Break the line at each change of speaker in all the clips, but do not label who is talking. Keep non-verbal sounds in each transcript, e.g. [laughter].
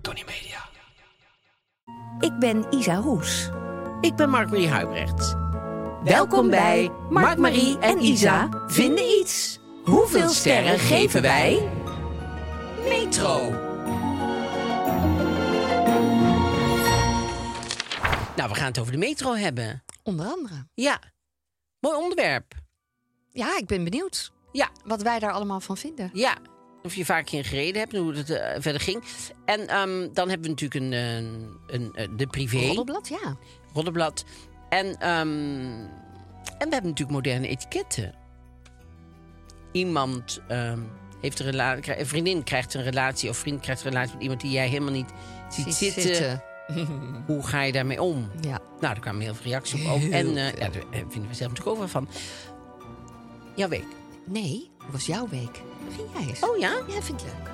Tony Media.
Ik ben Isa Roes.
Ik ben Mark-Marie Huibrecht. Welkom bij Mark-Marie en Isa vinden iets. Hoeveel sterren geven wij? Metro. Nou, we gaan het over de metro hebben.
Onder andere.
Ja, mooi onderwerp.
Ja, ik ben benieuwd
Ja,
wat wij daar allemaal van vinden.
ja. Of je vaak in gereden hebt en hoe het eh, verder ging. En ehm, dan hebben we natuurlijk een, eh, een, eh, de privé.
Roddelblad, ja.
Roddenblad. En, ehm, en we hebben natuurlijk moderne etiketten. Iemand ehm, heeft een, rela- krij- een vriendin krijgt een relatie of vriend krijgt een relatie met iemand die jij helemaal niet ziet,
Ziet
zitten.
Eh,
Hoe ga je daarmee om?
Ja.
Nou, daar kwamen heel veel reacties op.
Heel
en eh,
veel.
ja, daar eh, vinden we zelf natuurlijk ook wel van. Jouw week.
Nee, hoe was jouw week? Begin jij eens.
Oh ja?
ja, vind ik leuk.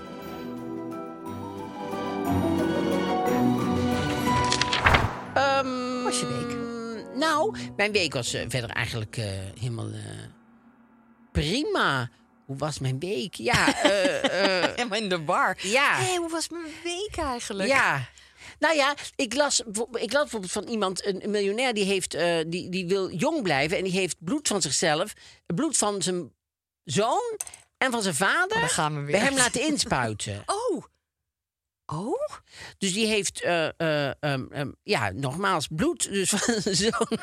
Ehm,
Was je week? [laughs]
[laughs] Nou, mijn week was eh, verder eigenlijk eh, helemaal eh, prima. Hoe was mijn week? Ja,
[laughs]
eh, eh,
Helemaal in de bar.
Ja.
Hé, hoe was mijn week eigenlijk?
Ja. Nou ja, ik las, bijvo- ik las bijvoorbeeld van iemand, een een miljonair, die, heeft, eh, die, die wil jong blijven. En die heeft bloed van zichzelf, bloed van zijn zoon en van zijn vader.
Oh, daar gaan we weer.
Bij hem laten
[laughs]
inspuiten.
Oh. Oh?
Dus die heeft, eh, eh, ehm, ehm, ja, nogmaals, bloed dus van zijn zoon [laughs]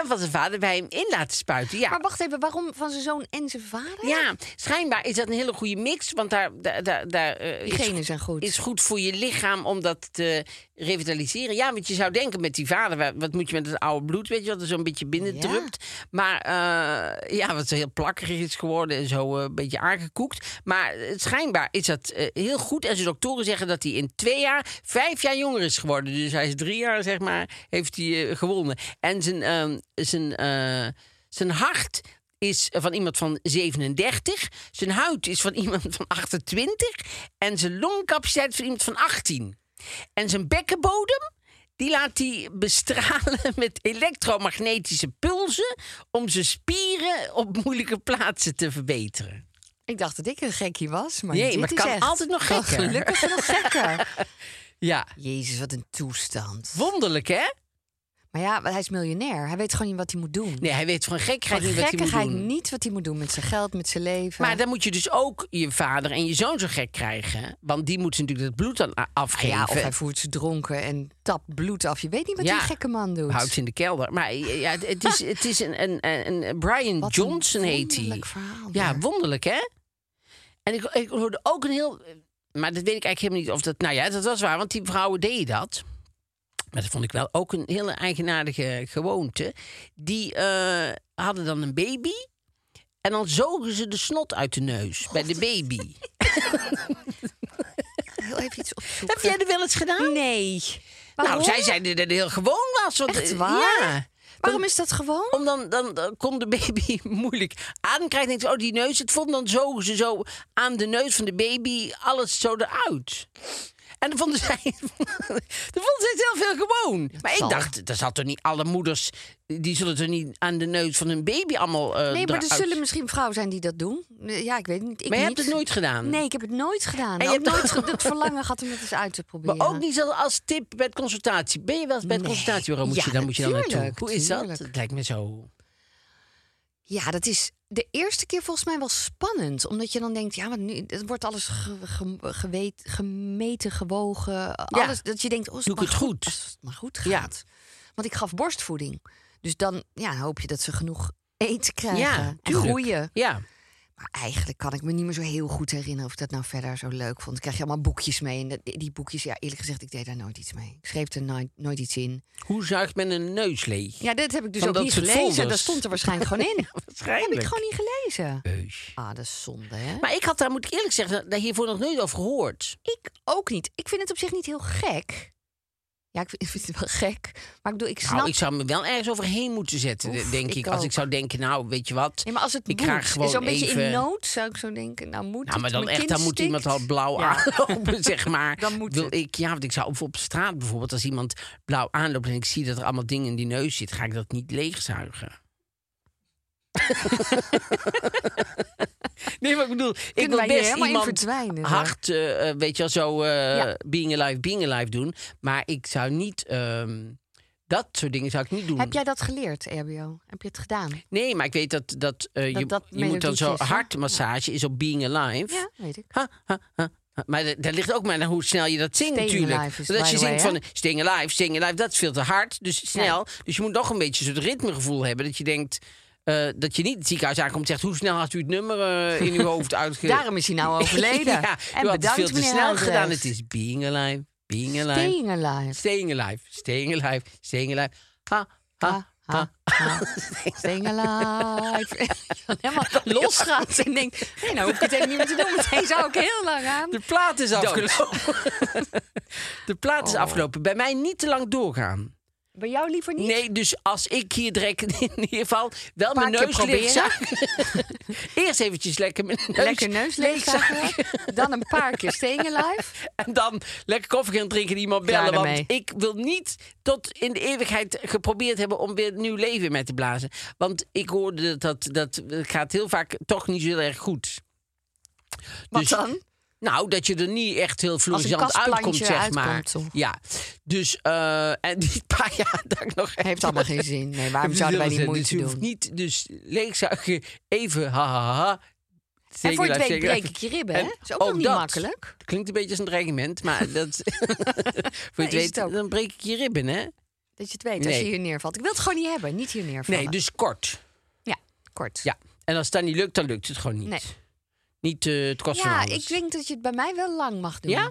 en van zijn vader bij hem in laten spuiten. Ja.
Maar wacht even, waarom van zijn zoon en zijn vader?
Ja, schijnbaar is dat een hele goede mix. Want daar, daar, daar, daar, eh,
Die genen zijn goed.
Is goed voor je lichaam om dat te revitaliseren. Ja, want je zou denken met die vader, wa- wat moet je met het oude bloed, weet je, wat er zo'n beetje binnen
Ja.
drupt. Maar eh, ja, wat zo heel plakkerig is geworden en zo eh, een beetje aangekoekt. Maar eh, schijnbaar is dat eh, heel goed. En zijn doktoren zeggen dat hij in twee jaar vijf jaar jonger is geworden. Dus hij is drie jaar, zeg maar, heeft hij eh, gewonnen. En zijn, ehm, zijn, eh, zijn hart is van iemand van 37. Zijn huid is van [laughs] iemand van 28. En zijn longcapaciteit van iemand van 18. En zijn bekkenbodem, die laat hij bestralen [laughs] met elektromagnetische pulsen... om zijn spieren op moeilijke plaatsen te verbeteren.
Ik dacht dat ik een gekkie was, maar
Nee,
dit
maar het
is
kan
echt-
altijd nog
Kan
gekker.
Gelukkig
[laughs]
nog gekker.
Ja.
Jezus, wat een toestand.
Wonderlijk, hè?
Maar ja, hij is miljonair. Hij weet gewoon niet wat hij moet doen.
Nee, hij weet van
Van
gekheid niet wat hij moet
gekkigheid
doen.
niet wat hij moet doen met zijn geld, met zijn leven.
Maar dan moet je dus ook je vader en je zoon zo gek krijgen. Want die moeten natuurlijk dat bloed dan a- afgeven.
ja, of hij voert ze dronken en tap bloed af. Je weet niet wat
Ja.
die gekke man doet.
Houdt ze in de kelder. Maar eh, ja, het- het is, het is een, een, een, een Brian
Wat een
Johnson heet hij.
wonderlijk verhaal
Ja,
weer.
wonderlijk hè? En ik, ik hoorde ook een heel. Maar dat weet ik eigenlijk helemaal niet of dat. Nou ja, dat was waar, want die vrouwen deden dat. Maar dat vond ik wel ook een hele eigenaardige gewoonte. Die eh, hadden dan een baby. En dan zogen ze de snot uit de neus bij de baby.
[laughs] Heel even iets opzoeken.
Heb jij dat wel eens gedaan?
Nee.
Nou,
Waarom?
zij zeiden dat het heel gewoon was. Want,
Echt
eh,
waar?
Ja.
Waarom is dat gewoon?
Om dan, dan, dan kon de baby [laughs] moeilijk adem krijgen. Denkt, ze, oh, die neus. Het vond dan zogen ze zo aan de neus van de baby alles zo eruit. En dan vonden zij, [laughs] dan vonden zij het heel veel gewoon. maar ik
zal.
dacht, dat zat toch niet alle moeders... die zullen toch niet aan de neus van hun baby allemaal eh,
Nee, maar er
eruit-
zullen misschien vrouwen zijn die dat doen. Ja, ik weet niet. Ik
Maar je
niet.
hebt het nooit gedaan?
Nee, ik heb het nooit gedaan.
En je
Ook
hebt
nooit
ook-
ge- het verlangen gehad om het eens uit te proberen.
Maar ook niet zo als tip bij het consultatie. Ben je wel eens bij het
Nee.
consultatiebureau? Moet
Ja,
je, dan moet je dan naartoe.
natuurlijk,
Hoe is dat?
tuurlijk.
Het lijkt me zo...
Ja, dat is de eerste keer volgens mij wel spannend. Omdat je dan denkt, ja, maar nu het wordt alles ge- ge- geweet- gemeten, gewogen. Alles, dat je denkt, oh, als
Doe ik
maar
het goed?
Als het maar goed
Ja.
gaat. Want ik gaf borstvoeding. Dus dan ja, hoop je dat ze genoeg eten krijgen. en
tuurlijk.
groeien.
Ja,
Maar eigenlijk kan ik me niet meer zo heel goed herinneren of ik dat nou verder zo leuk vond. Ik krijg je allemaal boekjes mee. En dat- die, die boekjes, ja, eerlijk gezegd, ik deed daar nooit iets mee. Ik schreef er nooit, nooit iets in.
hoe zuigt men een neus leeg?
Ja, dit heb ik dus
Van
ook
dat
niet
soort
gelezen.
folders.
Dat stond er waarschijnlijk [laughs] gewoon in.
waarschijnlijk.
Heb ik gewoon niet gelezen.
Heus.
Ah, dat is zonde, hè?
Maar ik had daar, moet ik eerlijk zeggen, daar hiervoor nog nooit over gehoord.
ik ook niet. Ik vind het op zich niet heel gek. Ja, ik vind, [laughs] ik vind het wel gek. Maar ik bedoel, ik snap...
Nou, ik zou me wel ergens overheen moeten zetten,
Oef,
denk ik.
ik
als ik
ook.
zou denken, nou, weet je wat?
Nee, maar als het
ik
moet,
ga gewoon
zo'n beetje
even-
in nood zou ik zo denken. Nou, moet
Nou,
het,
maar dan
mijn
echt,
kind
dan moet iemand
stikt.
al blauw
Ja.
aanlopen, [laughs] zeg maar.
Dan moet
Wil
het.
ik, ja, want ik zou op, op straat bijvoorbeeld, als iemand blauw aanloopt en ik zie dat er allemaal dingen in die neus zit, ga ik dat niet leegzuigen. [laughs] nee, maar ik bedoel, ik wil
Kunnen wij hier
best
helemaal in
iemand
verdwijnen, zeg.
hard, eh, eh, weet je wel, zo eh,
Ja.
being alive, being alive doen. Maar ik zou niet, ehm, dat soort dingen zou ik niet doen.
Heb jij dat geleerd, EBO? Heb je het gedaan?
Nee, maar ik weet dat, dat, eh, je,
Dat dat
je moet dan
melodietje
zo
is, hè?
hartmassage is op Being Alive.
Ja, weet ik.
Ha, ha, ha, ha. Maar dat, dat ligt ook maar aan hoe snel je dat zingt
Staying
natuurlijk.
alive is
Want als
by
je
the
zingt
way,
van Staying Alive, Staying Alive, dat is veel te hard. Dus snel. Dus je moet toch een beetje zo'n ritmegevoel hebben. Dat je denkt eh, dat je niet het ziekenhuis aankomt en zegt... hoe snel had u het nummer eh,
[laughs]
in uw hoofd uitge...
Daarom is
[laughs]
hij nou overleden.
ja,
en
u had het
bedankt,
veel te
meneer
snel
Huidrecht.
gedaan. Het is Being Alive, Being Alive.
Staying alive.
Staying Alive, Staying Alive, Staying Alive. Ha, ha,
Ha, ha, ha. Staying
[laughs]
alive. Dan helemaal losgaat en denkt... Nee, nou hoef ik het even niet meer te doen. Meteen zou ik heel lang aan.
De plaat is
Dood. Oh.
afgelopen. [laughs] De plaat is afgelopen. Bij mij niet te lang doorgaan.
Bij jou liever niet?
Nee, dus als ik hier direct [laughs] in ieder geval wel
Paar
mijn
keer
neus leeg
proberen.
zuigen. [laughs] Eerst eventjes lekker mijn neus,
Lekker neus leegzakken. Dan een paar keer staying alive.
[laughs] En dan lekker koffie gaan drinken en iemand
Klaar
bellen. Want
ermee.
ik wil niet tot in de eeuwigheid geprobeerd hebben om weer nieuw leven in mij te blazen. Want ik hoorde dat dat, dat gaat heel vaak toch niet zo heel erg goed.
Wat
Dus-
dan?
Nou, dat je er niet echt heel florissant
kastplantje
uitkomt, zeg maar.
uitkomt, toch?
Ja, dus eh, en die paar jaar [laughs] dat ik nog
[laughs] Heeft allemaal geen zin.
[laughs]
Nee, waarom zouden wij die
Dus
moeite
je hoeft
doen?
niet, dus leegzuigen, even ha ha ha, ha.
En voor
Zeker
het
dat,
week
zeker dat.
breek ik je ribben,
En
hè? is ook nog niet
dat
makkelijk.
Klinkt een beetje als een dreigement,
[laughs]
maar dat... voor je het
is
weet,
het ook.
dan breek ik je ribben, hè?
Dat je het weet als je
Nee.
hier neervalt. Ik wil het gewoon niet hebben, niet hier neervallen.
Nee, dus kort.
Ja, kort.
Ja. En als het dan niet lukt, dan lukt het gewoon niet.
Nee.
Niet eh, het kost van
Ja,
alles.
ik denk dat je het bij mij wel lang mag doen.
Ja?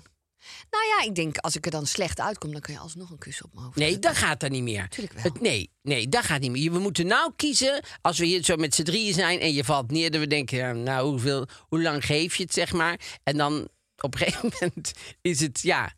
Nou ja, ik denk als ik er dan slecht uitkom, dan kun je alsnog een kus op mijn hoofd.
Nee,
zetten.
dat gaat dan niet meer.
Tuurlijk wel.
Het- nee, nee, dat gaat niet meer. We moeten nou kiezen, als we hier zo met z'n drieën zijn en je valt neer, dan we denken, ja, nou, hoeveel, hoe lang geef je het, zeg maar. En dan op een gegeven moment is het, ja,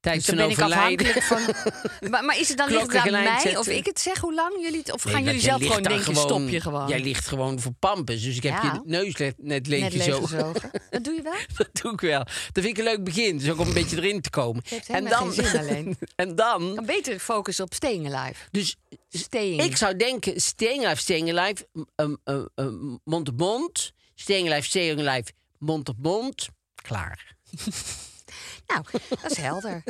tijd
Dus
van
dan ben ik
overlijden.
afhankelijk
[laughs]
van. maar, maar is het dan ligt
Klokken
het aan
gelijk
mij
zetten.
of ik het zeg hoe lang jullie het. Of
Nee, want
gaan jullie
jij
zelf
ligt
gewoon
daar
denken, stop je gewoon.
Jij ligt gewoon voor pampers, dus ik heb
Ja.
je neus le- net
Net
leeg [laughs] zo.
leeggezogen. Dat doe je
[laughs]
wel?
Dat doe ik wel. Dat vind ik een leuk begin, dus ook om een beetje erin te komen.
heeft helemaal geen zin alleen.
[laughs] en dan,
Dan beter focussen op staying alive.
dus
Staying.
Ik zou denken, Staying Alive, Staying Alive, m- m- m- m- mond op mond. Staying Alive, Staying Alive, mond op mond. Klaar.
Nou, dat is
[laughs]
helder.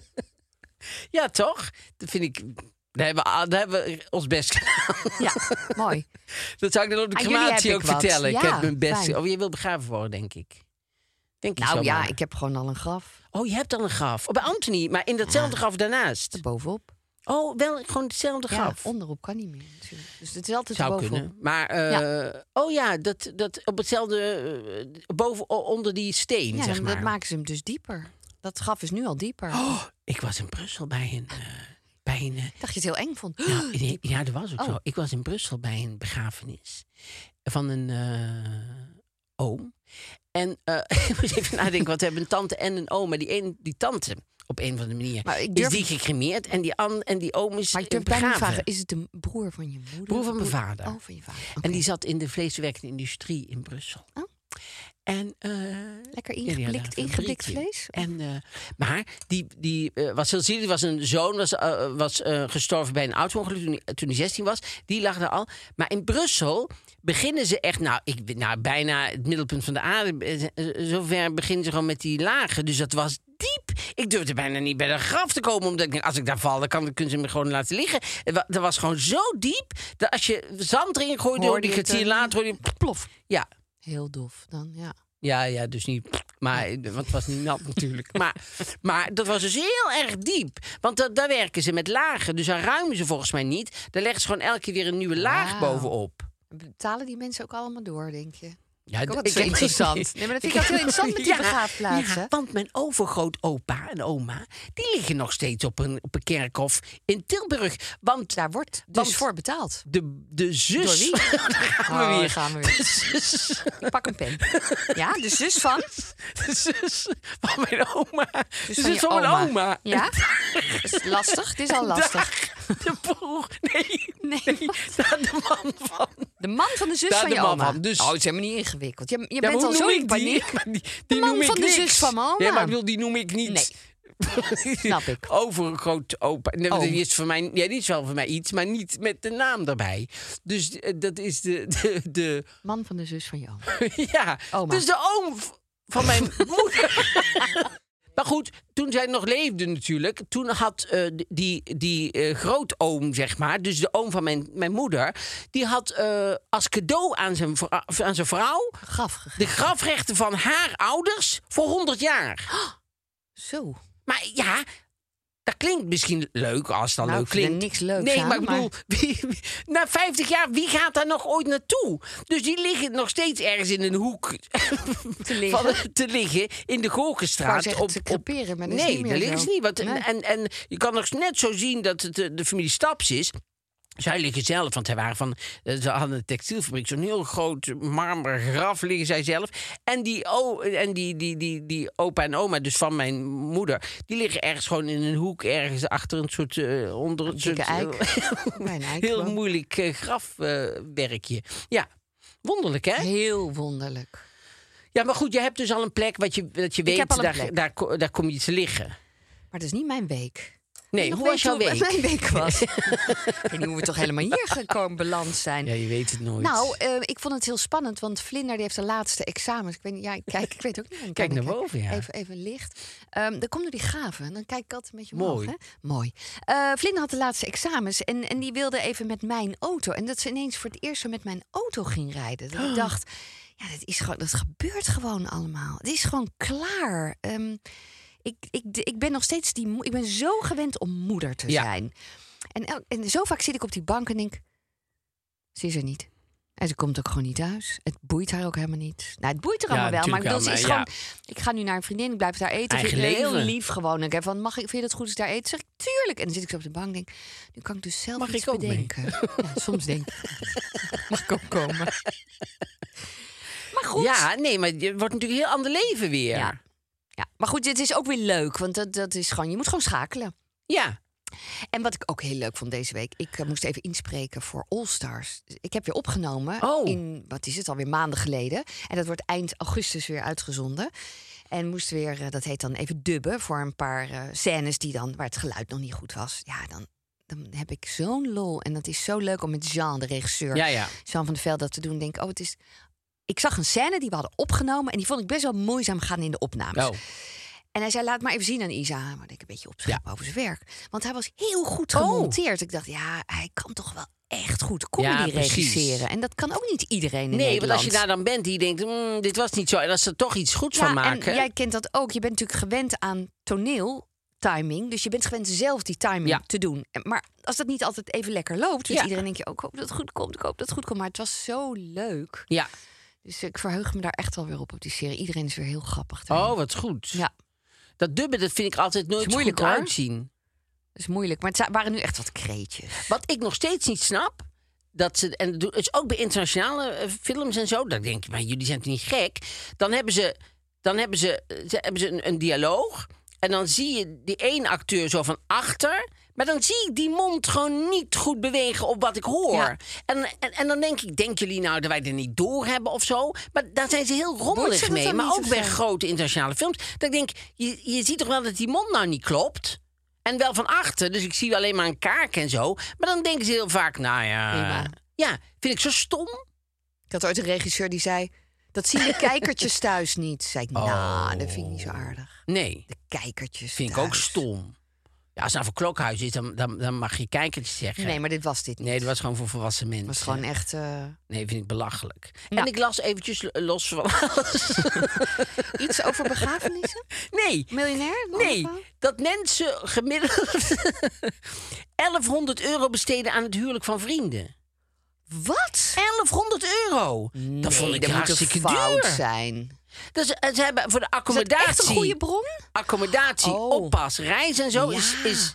Ja, toch? Dat vind ik... Daar hebben, we, daar hebben we ons best gedaan. [laughs]
Ja, mooi.
Dat zou ik dan op de
Aan jullie
crematie
heb
ook
ik wat.
vertellen. ik
Ja,
Ah, heb mijn best...
fijn.
Oh, je wil begraven worden, denk ik. Denk ik
Nou ja,
zomaar.
ik heb gewoon al een graf
Oh, je hebt al een graf. Oh, bij Anthony, maar in datzelfde graf daarnaast.
bovenop.
Oh, wel gewoon hetzelfde
Ja,
graf.
onderop kan niet meer. natuurlijk. Dus het is altijd
Zou
bovenop.
kunnen. Maar, eh, oh ja, dat, dat op hetzelfde, eh, boven, o- onder die steen,
Ja,
zeg
dan-
maar.
dat maken ze hem dus dieper. Dat graf is nu al dieper.
Oh, ik was in Brussel bij een. eh, bij een eh,
Dacht je het heel eng vond? [gasps]
nou, nee, ja, dat was ook
Oh.
zo. Ik was in Brussel bij een begrafenis van een eh, oom. En eh [laughs] ik moest even nadenken, want we hebben een tante en een oom. Maar die, een, die tante, op een of andere manier,
Maar ik durf-
is die gecremeerd. En die, an, en die oom is
Maar ik
eh,
durf bijna niet
begraven.
te vragen, is het een broer van je moeder?
Broer van mijn vader.
Oh, van je vader. Oké.
En die zat in de vleesverwerkende industrie in Brussel.
Oh.
En, eh,
Lekker
ja, die hadden
ingeblikt,
een
ingeblikt
fabriekje.
vlees?
En, eh, maar die, die eh, was heel zielig. Die was een zoon, was, eh, was eh, gestorven bij een auto-ongeluk toen, hij- toen hij 16 was. Die lag daar al. Maar in Brussel beginnen ze echt, nou, ik, weet- nou eh, bijna het middelpunt van de aarde. eh, eh, zover beginnen ze gewoon met die lagen. Dus dat was diep. Ik durfde bijna niet bij de graf te komen. Omdat ik denk, als ik daar val, dan kan, kunnen ze me gewoon laten liggen. Het wa- Dat was gewoon zo diep. Dat als je zand erin gooit, door
Hoorde
die
je het,
kwartier
eh?
later hoor je plof. Ja.
Heel dof dan, ja.
Ja, ja, dus niet. Maar, want het was niet nat
[laughs]
natuurlijk. Maar, maar dat was dus heel erg diep. Want da- daar werken ze met lagen. Dus daar ruimen ze volgens mij niet. Daar leggen ze gewoon elke keer weer een nieuwe laag
Wauw.
bovenop.
Betalen die mensen ook allemaal door, denk je?
Ja,
dat
d-
is
heb geen
interessant.
idee.
Nee, maar dat vind ik ook heel
heb [laughs]
interessant met die
geen-
begraafplaatsen.
ja, want mijn overgrootopa en oma... die liggen nog steeds op een, op een kerkhof in Tilburg. Want
Daar wordt dus
Want-
voor betaald.
de, de zus...
Door wie?
[laughs] daar gaan we
Oh,
weer.
daar
[laughs]
gaan we weer.
De zus,
Ik pak een pen. Ja, de zus van?
de zus van mijn oma. De
van
zus
je
van mijn
oma.
oma.
Ja? Dat is lastig. Het
[laughs]
is al lastig.
Daar, [laughs] de broer. Nee,
Nee,
nee. Daar de man van.
De man van de zus
Daar
van
de
je
man
oma.
van, dus-
Oh, het is helemaal niet ingewikkeld. Je, je
Ja, maar
bent
hoe
al zo
noem
in
ik die?
paniek.
Maar Die, [laughs] die
De man
noem ik
van de
niks.
zus van mijn
Nee, maar
oma.
ik bedoel, die noem ik niet.
Snap
[laughs]
ik.
Oh. Overgroot opa. Nee,
Oh.
Die is voor mij, ja, die is wel voor mij iets, maar niet met de naam daarbij. Dus eh, dat is de, de, de [laughs]
Man van de zus van je oma.
ja,
Oma.
dus de oom v- van mijn
[laughs]
moeder. [laughs] Maar goed, toen zij nog leefde natuurlijk, toen had eh, d- die, die eh, grootoom, zeg maar, dus de oom van mijn, mijn moeder, die had eh, als cadeau aan zijn, vrou- aan zijn vrouw
Gaf gegeven.
de grafrechten van haar ouders voor 100 jaar.
Zo.
Maar ja, dat klinkt misschien leuk als dat
Nou,
leuk
ik vind er
klinkt.
niks leuks
Nee,
aan,
maar ik
maar-
bedoel, [laughs] wie- wie- na 50 jaar, wie gaat daar nog ooit naartoe? Dus die liggen nog steeds ergens in een hoek
[laughs] Te
van- [laughs]
liggen.
te liggen in de
Ik wou
Gorkenstraat.
zeggen, te creperen, maar dat is
nee,
niet meer
daar liggen
zo.
ze niet. Want, en-
Nee.
en, en je kan nog net zo zien dat het eh, de, familie Staps is. Zij liggen zelf, want zij waren van, eh, ze hadden een textielfabriek, zo'n heel groot marmeren graf liggen zij zelf. En, die, o, en die, die, die, die opa en oma, dus van mijn moeder, die liggen ergens gewoon in een hoek, ergens achter een soort, eh, onder een soort, eh,
dikke eik. Bij [laughs] een
heel
eikboom.
moeilijk eh, grafwerkje. ja, wonderlijk hè?
Heel wonderlijk.
Ja, maar goed, je hebt dus al een plek wat je, dat je
heb
weet,
al een
daar,
plek.
Daar, ko- daar kom je te liggen.
Maar dat is niet mijn week.
Nee,
Nog
hoe
weet
was
je
jouw
wat [laughs]
week?
Mijn week was. ik weet niet hoe we toch helemaal hier gekomen beland zijn.
je weet het nooit.
Nou, eh, ik vond het heel spannend, want Vlinder die heeft de laatste examens. Ik weet, niet- ja, ik kijk, ik weet ook niet. waar
[laughs]
ik
Kijk
aan
naar boven, ja.
Even, even licht. Ehm er komt door die graven en dan kijk ik altijd een beetje omhoog.
Mooi.
Hè? Mooi. Eh, Vlinder had de laatste examens en, en die wilde even met mijn auto. En dat ze ineens voor het eerst zo met mijn auto ging rijden. Dat
Oh.
ik dacht, ja, dat, is gewoon, dat gebeurt gewoon allemaal. Het is gewoon klaar. Ehm, ik, ik, ik ben nog steeds die... mo- Ik ben zo gewend om moeder te
Ja.
zijn. En, el- en zo vaak zit ik op die bank en denk... Ze is er niet. En ze komt ook gewoon niet thuis. Het boeit haar ook helemaal niet. Nou, het boeit haar
Ja,
allemaal wel. Maar ik
natuurlijk
bedoel, ze
wel,
is
maar
gewoon... Ik ga nu naar een vriendin, ik blijf daar eten.
Eigen
Vind ik heel
leven.
lief gewoon. Ik heb van, mag ik, vind je dat goed als ik daar eet? Zeg ik, tuurlijk. En dan zit ik zo op de bank en denk... Nu kan ik dus zelf
Mag
iets
ik ook mee?
bedenken. Ja, soms denk ik...
[laughs]
Mag ik ook komen? Maar goed.
Ja, nee, maar het wordt natuurlijk een heel ander leven weer.
Ja. ja. Maar goed, dit is ook weer leuk. Want dat, dat is gewoon, je moet gewoon schakelen.
Ja.
En wat ik ook heel leuk vond deze week, ik eh, moest even inspreken voor All Stars. Ik heb weer opgenomen
Oh.
in, wat is het, alweer maanden geleden. En dat wordt eind augustus weer uitgezonden. En moest weer, eh, dat heet dan even dubben voor een paar eh, scènes die dan, waar het geluid nog niet goed was. Ja, dan, dan heb ik zo'n lol. En dat is zo leuk om met Jean, de regisseur,
Ja, ja.
Jean van der Velde dat te doen. Denk, oh, het is... Ik zag een scène die we hadden opgenomen en die vond ik best wel moeizaam gaan in de opnames.
Oh.
En hij zei, laat maar even zien aan Isa. Maar ik een beetje opschep over zijn werk. Want hij was heel goed gemonteerd. Ik dacht, ja, hij kan toch wel echt goed comedy
Oh. Ja, precies.
regisseren. En dat kan ook niet iedereen in
Nee, want
Nederland.
als je daar dan bent die denkt, "Mm, dit was niet zo. En als ze er toch iets goeds
Ja,
van maken.
En jij kent dat ook. Je bent natuurlijk gewend aan toneel timing. Dus je bent gewend zelf die timing
Ja.
te doen. En- Maar als dat niet altijd even lekker loopt... dus
Ja.
iedereen denkt, oh, ik hoop dat het goed komt, ik hoop dat het goed komt. Maar het was zo leuk.
Ja.
Dus ik verheug me daar echt wel weer op, op die serie. Iedereen is weer heel grappig. daarin.
Oh, wat goed.
Ja,
Dat dubben, dat vind ik altijd nooit
Is moeilijk,
goed
hoor.
uitzien.
dat is moeilijk. Maar het za- waren nu echt wat kreetjes.
Wat ik nog steeds niet snap, dat ze, en dat doen- het is ook bij internationale eh, films en zo, dan denk je, maar jullie zijn toch niet gek? Dan hebben ze, dan hebben ze, eh, ze- hebben ze een, een dialoog en dan zie je die één acteur zo van achter, maar dan zie ik die mond gewoon niet goed bewegen op wat ik hoor.
Ja.
En, en, en dan denk ik, denken jullie nou dat wij er niet door hebben of zo? Maar daar zijn ze heel rommelig
ze dat
mee,
dan
maar
niet
ook
of
bij
zo?
grote internationale films. Dat ik denk, je, je ziet toch wel dat die mond nou niet klopt? En wel van achter, dus ik zie alleen maar een kaak en zo. Maar dan denken ze heel vaak, nou ja...
Prima.
Ja, vind ik zo stom.
Ik had ooit een regisseur die zei... Dat zien
[laughs]
de kijkertjes thuis niet. Zei ik, nou, dat vind ik niet zo aardig.
Nee,
De kijkertjes
Oh. vind ik
thuis.
ook stom. Ja, als het nou voor klokhuis is, dan, dan, dan mag je kijkertjes zeggen.
Nee, maar dit was dit niet.
Nee, dat was gewoon voor volwassen mensen.
was gewoon echt... eh,
Nee, vind ik belachelijk. En
Nou.
ik las eventjes lo- los van alles. [laughs]
Iets over begrafenissen?
Nee,
Miljonair?
nee. Dat mensen gemiddeld [laughs] 1100 euro besteden aan het huwelijk van vrienden.
Wat?
1100 euro. dat vond ik
dat
hartstikke
moet een fout
duur.
zijn.
Dus eh, ze hebben voor de
Is dat
accommodatie,
echt een goede bron?
accommodatie,
Oh.
oppas, reis en zo is,
Ja.
is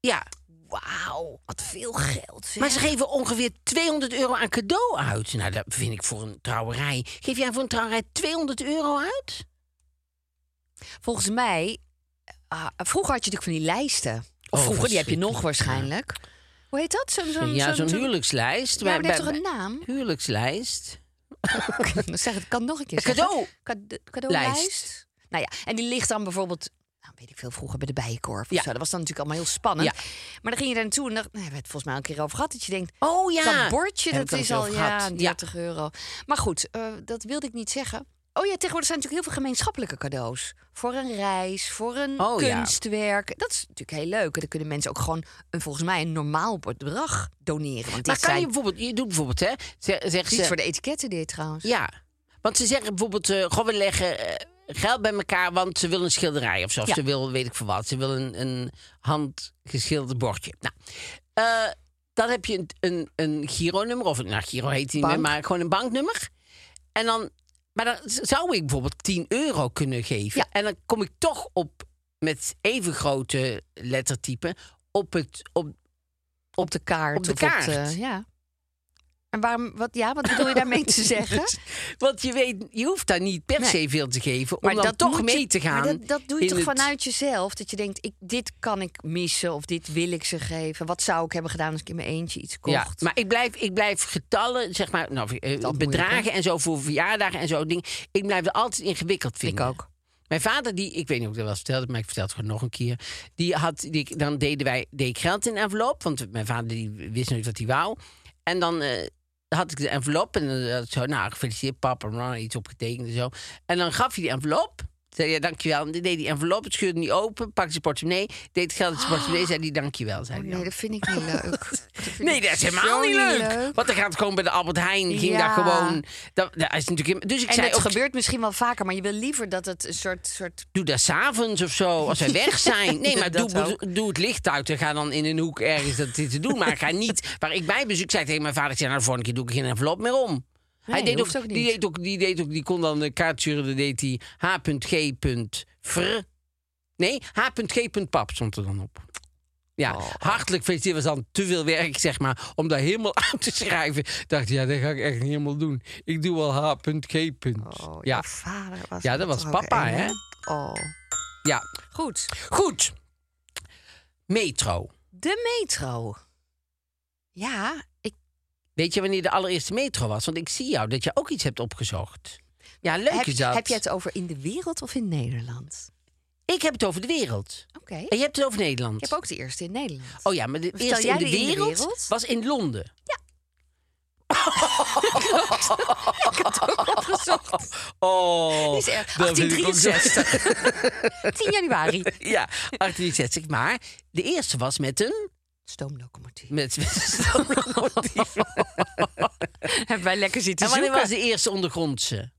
ja.
Wauw, wat veel geld. zeg.
Maar ze geven ongeveer 200 euro aan cadeau uit. Nou, dat vind ik voor een trouwerij. Geef jij voor een trouwerij 200 euro uit?
Volgens mij, ah, vroeger had je natuurlijk van die lijsten. Of
Oh,
vroeger, die heb je nog
verschrikkelijk,
waarschijnlijk. Hoe heet dat? Zo'n zo'n-
ja,
zo'n-
zo'n
zo'n-
huwelijkslijst.
Ja, maar die
Bij-
heeft toch
bij-
een naam?
Huwelijkslijst.
Dan [laughs] zeg ik, het kan nog een keer
Een cadeau.
zeggen. Cade- cadeaulijst. Nou ja, en die ligt dan bijvoorbeeld... Nou, weet ik veel, vroeger bij de Bijenkorf
Ja.
of zo. Dat was dan natuurlijk allemaal heel spannend.
Ja.
Maar dan ging je daar naartoe en dacht... Nou, we hebben het volgens mij al een keer over gehad. Dat je denkt,
Oh ja.
dat bordje,
Hebben
dat
we het
is
al
al
eens over
ja,
gehad.
30 euro. Maar goed, eh, dat wilde ik niet zeggen. Oh ja, tegenwoordig zijn natuurlijk heel veel gemeenschappelijke cadeaus. Voor een reis, voor een
Oh ja.
kunstwerk. Dat is natuurlijk heel leuk. En dan kunnen mensen ook gewoon een, volgens mij een normaal bedrag doneren. Want dit
Maar kan
zijn,
je bijvoorbeeld, je doet bijvoorbeeld, hè? ze- Zeggen
Iets voor
ze,
de etiketten dit trouwens.
ja. Want ze zeggen bijvoorbeeld, eh goh, we leggen eh, geld bij elkaar, want ze wil een schilderij of zo. Of
Ja.
Ze wil, weet ik veel wat, ze wil een, een handgeschilderd bordje. Nou, eh, dan heb je een, een, een Giro-nummer, of een- nou, Giro heet die niet meer,
Bank.
maar gewoon een banknummer. En dan, maar dan z- zou ik bijvoorbeeld 10 euro kunnen geven.
Ja.
En dan kom ik toch op, met even grote lettertypen, op het, op,
Op de kaart.
Op de
of
kaart.
eh, ja. En waarom, wat, ja, wat bedoel je daarmee
[laughs]
te zeggen?
Want je weet, je hoeft daar niet per
Nee.
se veel te geven. Om dan toch
moet
mee
je-
te gaan.
Maar dat, dat doe je
in
toch
het-
vanuit jezelf? Dat je denkt, ik, dit kan ik missen of dit wil ik ze geven. Wat zou ik hebben gedaan als ik in mijn eentje iets kocht?
Ja, maar ik blijf, ik blijf getallen, zeg maar, nou, eh,
Dat
bedragen
moeilijk, hè?
en zo voor verjaardagen en zo dingen. Ik blijf het altijd ingewikkeld vinden.
Ik ook.
Mijn vader, die, ik weet niet of ik dat wel eens vertelde, maar ik vertel het gewoon nog een keer. Die had, die, dan deden wij, deed ik geld in een envelop, want mijn vader die wist nooit wat hij wou. En dan eh, had ik de envelop en dan had ik zo, nou, gefeliciteerd pap, en dan iets opgetekend en zo. En dan gaf hij die envelop. Zei, ja, dankjewel. En die deed die envelop, het scheurde niet open, pakte zijn portemonnee, deed het geld in
[gasps]
zijn portemonnee, zei hij dankjewel. Zei hij
Oh, nee,
dan.
dat vind ik
[laughs]
niet leuk. Dat vind
Nee,
ik
dat is helemaal
zo
niet leuk. Want dan gaat gewoon bij de Albert Heijn. Ging
Ja.
daar gewoon. Dat, dat is natuurlijk, in- dus ik
En
zei
dat
ook,
gebeurt misschien wel vaker, maar je wil liever dat het een soort... soort
doe dat s'avonds of zo. Als wij weg zijn.
[laughs]
Nee, maar
Dat
doe,
ook.
doe het licht uit. En ga dan in een hoek ergens dat dit te doen. Maar ga niet. Waar ik bij bezoek zei tegen mijn vader: ik zei, nou, de volgende keer doe ik geen envelop meer om. hij
Nee,
deed
hoeft
ook,
ook
Die
niet.
deed ook, die deed ook, die kon dan de kaart sturen. Dan deed hij h.g.fr. Nee, h.g.pap stond er dan op. Ja,
Oh.
hartelijk gefeliciteerd was dan te veel werk, zeg maar. Om daar helemaal [laughs] aan te schrijven. Dacht, ja, dat ga ik echt niet helemaal doen. Ik doe wel h.g.
oh,
ja,
jouw vader was
Ja, dat was
toch ook
papa,
een,
hè?
Oh.
ja.
Goed.
Goed. Metro.
De metro. Ja, ik,
Weet je wanneer de allereerste metro was? Want ik zie jou dat je ook iets hebt opgezocht. Ja, leuk
heb,
is dat.
heb je het over in de wereld of in Nederland?
Ik heb het over de wereld.
Oké.
En je hebt het over Nederland.
Ik heb ook de eerste in Nederland.
Oh ja, maar de
Vertel
eerste
jij
in de,
die in de
wereld
wereld?
was in Londen.
[laughs]
Ja. Oh,
Die is erg.
dat vind ik ook zo-
1863. 10 [laughs] januari.
Ja, 1863. Maar de eerste was met een...
Stoomlocomotief.
Met, [laughs] met een stoomlocomotief.
Hebben wij lekker zitten
En wanneer
zoeken.
was de eerste ondergrondse?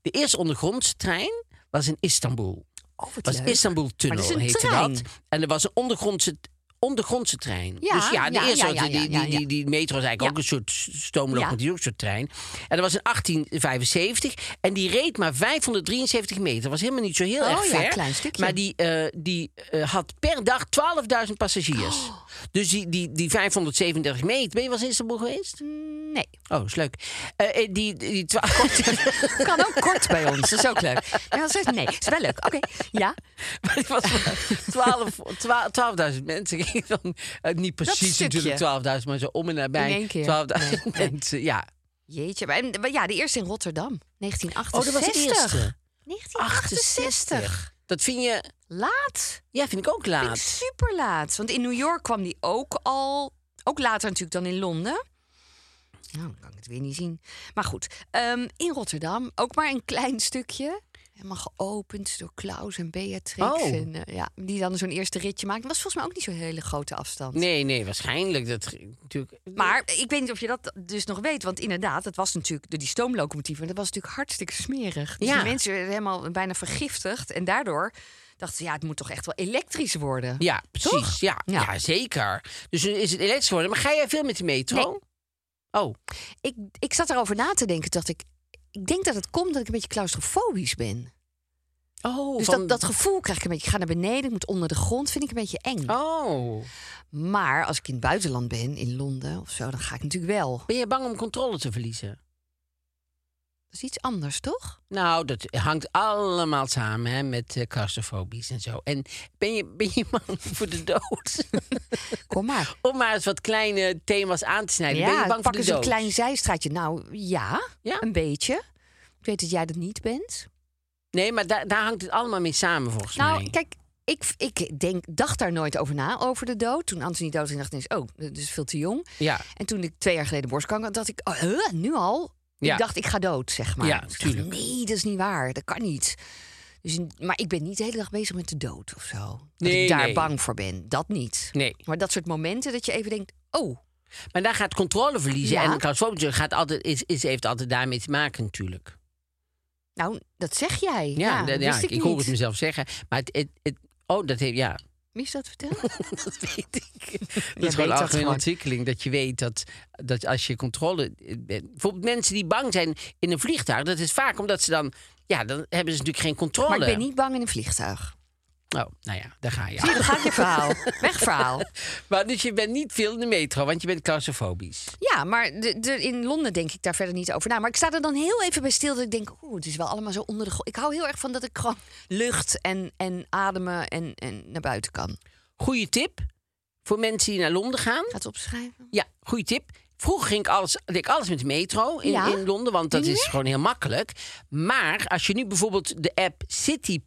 De eerste ondergrondse trein was in Istanbul.
Oh, wat
was
leuk.
Istanbul Tunnel
Maar dat is een
heette
trein.
dat. En er was een ondergrondse, ondergrondse trein.
Ja,
dus ja, de
ja,
eerste,
ja, ja,
die, die,
ja, ja.
Die, die metro is eigenlijk
Ja.
ook een soort stoomlocomotief,
Ja.
ook een soort trein. En dat was in 1875 en die reed maar 573 meter. Dat was helemaal niet zo heel
Oh
erg
ja,
ver.
klein stukje.
Maar die, eh, die eh, had per dag 12.000 passagiers.
Oh.
Dus die, die, die 537 meter, ben je wel eens in Istanbul geweest?
Mm, Nee,
Oh, is leuk. Eh, eh, die, die, twa-
[laughs] kan ook kort bij ons. Dat is ook leuk. Maar dan zegt- nee, is wel leuk. Oké, ja.
Maar [laughs] het was maar 12 twa- 12.000 mensen gingen dan eh, niet precies
stukje.
natuurlijk 12.000, maar zo om en
In
nabij 12.000
één keer. Nee, nee. Oh,
mensen. Ja,
Jeetje. Maar, en- maar ja, de eerste in Rotterdam. 1968.
oh, dat was de eerste.
1968.
Dat vind je,
Laat.
ja, vind ik ook
Vind ik
laat.
super laat. Want in New York kwam die ook al. Ook later natuurlijk dan in Londen. Nou, dan kan ik het weer niet zien. Maar goed, ehm, in Rotterdam, ook maar een klein stukje. Helemaal geopend door Klaus en Beatrix.
Oh.
En, eh, ja, die dan zo'n eerste ritje maakten. was volgens mij ook niet zo'n hele grote afstand.
Nee, nee, waarschijnlijk. Dat ge- natuurlijk.
Maar ik weet niet of je dat dus nog weet. Want inderdaad, dat was natuurlijk door die stoomlocomotieven. Dat was natuurlijk hartstikke smerig. Dus
Ja.
die mensen werden helemaal bijna vergiftigd. En daardoor dachten ze, ja, het moet toch echt wel elektrisch worden.
Ja, precies.
Toch?
Ja, ja.
Ja.
zeker. Dus nu is het elektrisch geworden. Maar ga jij veel met de metro? Oh,
Ik, ik zat erover na te denken. Dacht ik, ik denk dat het komt dat ik een beetje claustrofobisch ben.
oh.
Dus
van-
dat, dat gevoel krijg ik een beetje. Ik ga naar beneden, ik moet onder de grond. Vind ik een beetje eng.
Oh.
Maar als ik in het buitenland ben, in Londen of zo, dan ga ik natuurlijk wel.
Ben je bang om controle te verliezen?
Dat is iets anders, toch?
Nou, dat hangt allemaal samen hè, met eh claustrofobisch en zo. En ben je, ben je bang [laughs] voor de dood? [laughs]
Kom maar.
om maar eens wat kleine thema's aan te snijden. ben je
Ja,
bang voor
pakken
de
ze een
dood?
klein zijstraatje. Nou, ja,
Ja?
een beetje. Ik weet dat jij dat niet bent.
Nee, maar daar daar hangt het allemaal mee samen volgens mij.
Nou, kijk, ik, ik denk, dacht daar nooit over na, over de dood. Toen Anthony dood ging, dacht ik ineens, oh, dat is veel te jong.
Ja.
En toen ik twee jaar geleden borstkanker had, dacht ik, oh, huh, nu al?
Ja.
Ik dacht, ik ga dood, zeg maar.
Ja,
Ik dacht,
tuurlijk.
nee, dat is niet waar, dat kan niet. Dus, maar ik ben niet de hele dag bezig met de dood of zo. Dat
Nee,
ik daar
nee.
bang voor ben, dat niet.
Nee.
Maar dat soort momenten dat je even denkt, oh,
Maar daar gaat controle verliezen.
Ja.
En claustrofobisch gaat altijd, is, is, heeft altijd daarmee te maken natuurlijk.
nou, dat zeg jij.
Ja,
Ja,
dat-
dat
ja,
wist
ik,
ik,
ik hoor
niet.
het mezelf zeggen. Maar het... het, het- oh, dat heeft... Ja,
Wie is dat
[laughs]
vertellen?
dat weet ik. Dat
weet
is gewoon
dat
algemene
gewoon.
ontwikkeling. Dat je weet dat, dat als je controle... eh, Bijvoorbeeld mensen die bang zijn in een vliegtuig. Dat is vaak omdat ze dan... Ja, dan hebben ze natuurlijk geen controle.
Maar ik ben niet bang in een vliegtuig.
Oh, nou ja, daar ga je.
Zie je, dan gaat je verhaal. Weg verhaal.
[laughs] Maar dus je bent niet veel in de metro, want je bent claustrofobisch.
Ja, maar de, de, in Londen denk ik daar verder niet over na. Maar ik sta er dan heel even bij stil dat ik denk... oeh, het is wel allemaal zo onder de... gro- Ik hou heel erg van dat ik gewoon lucht en, en ademen en, en naar buiten kan.
Goeie tip voor mensen die naar Londen gaan.
Gaat het opschrijven?
Ja, goede tip. Vroeger ging ik alles, deed ik alles met de metro in,
Ja?
in Londen, want dat
Doe je
is gewoon heel makkelijk. Maar als je nu bijvoorbeeld de app City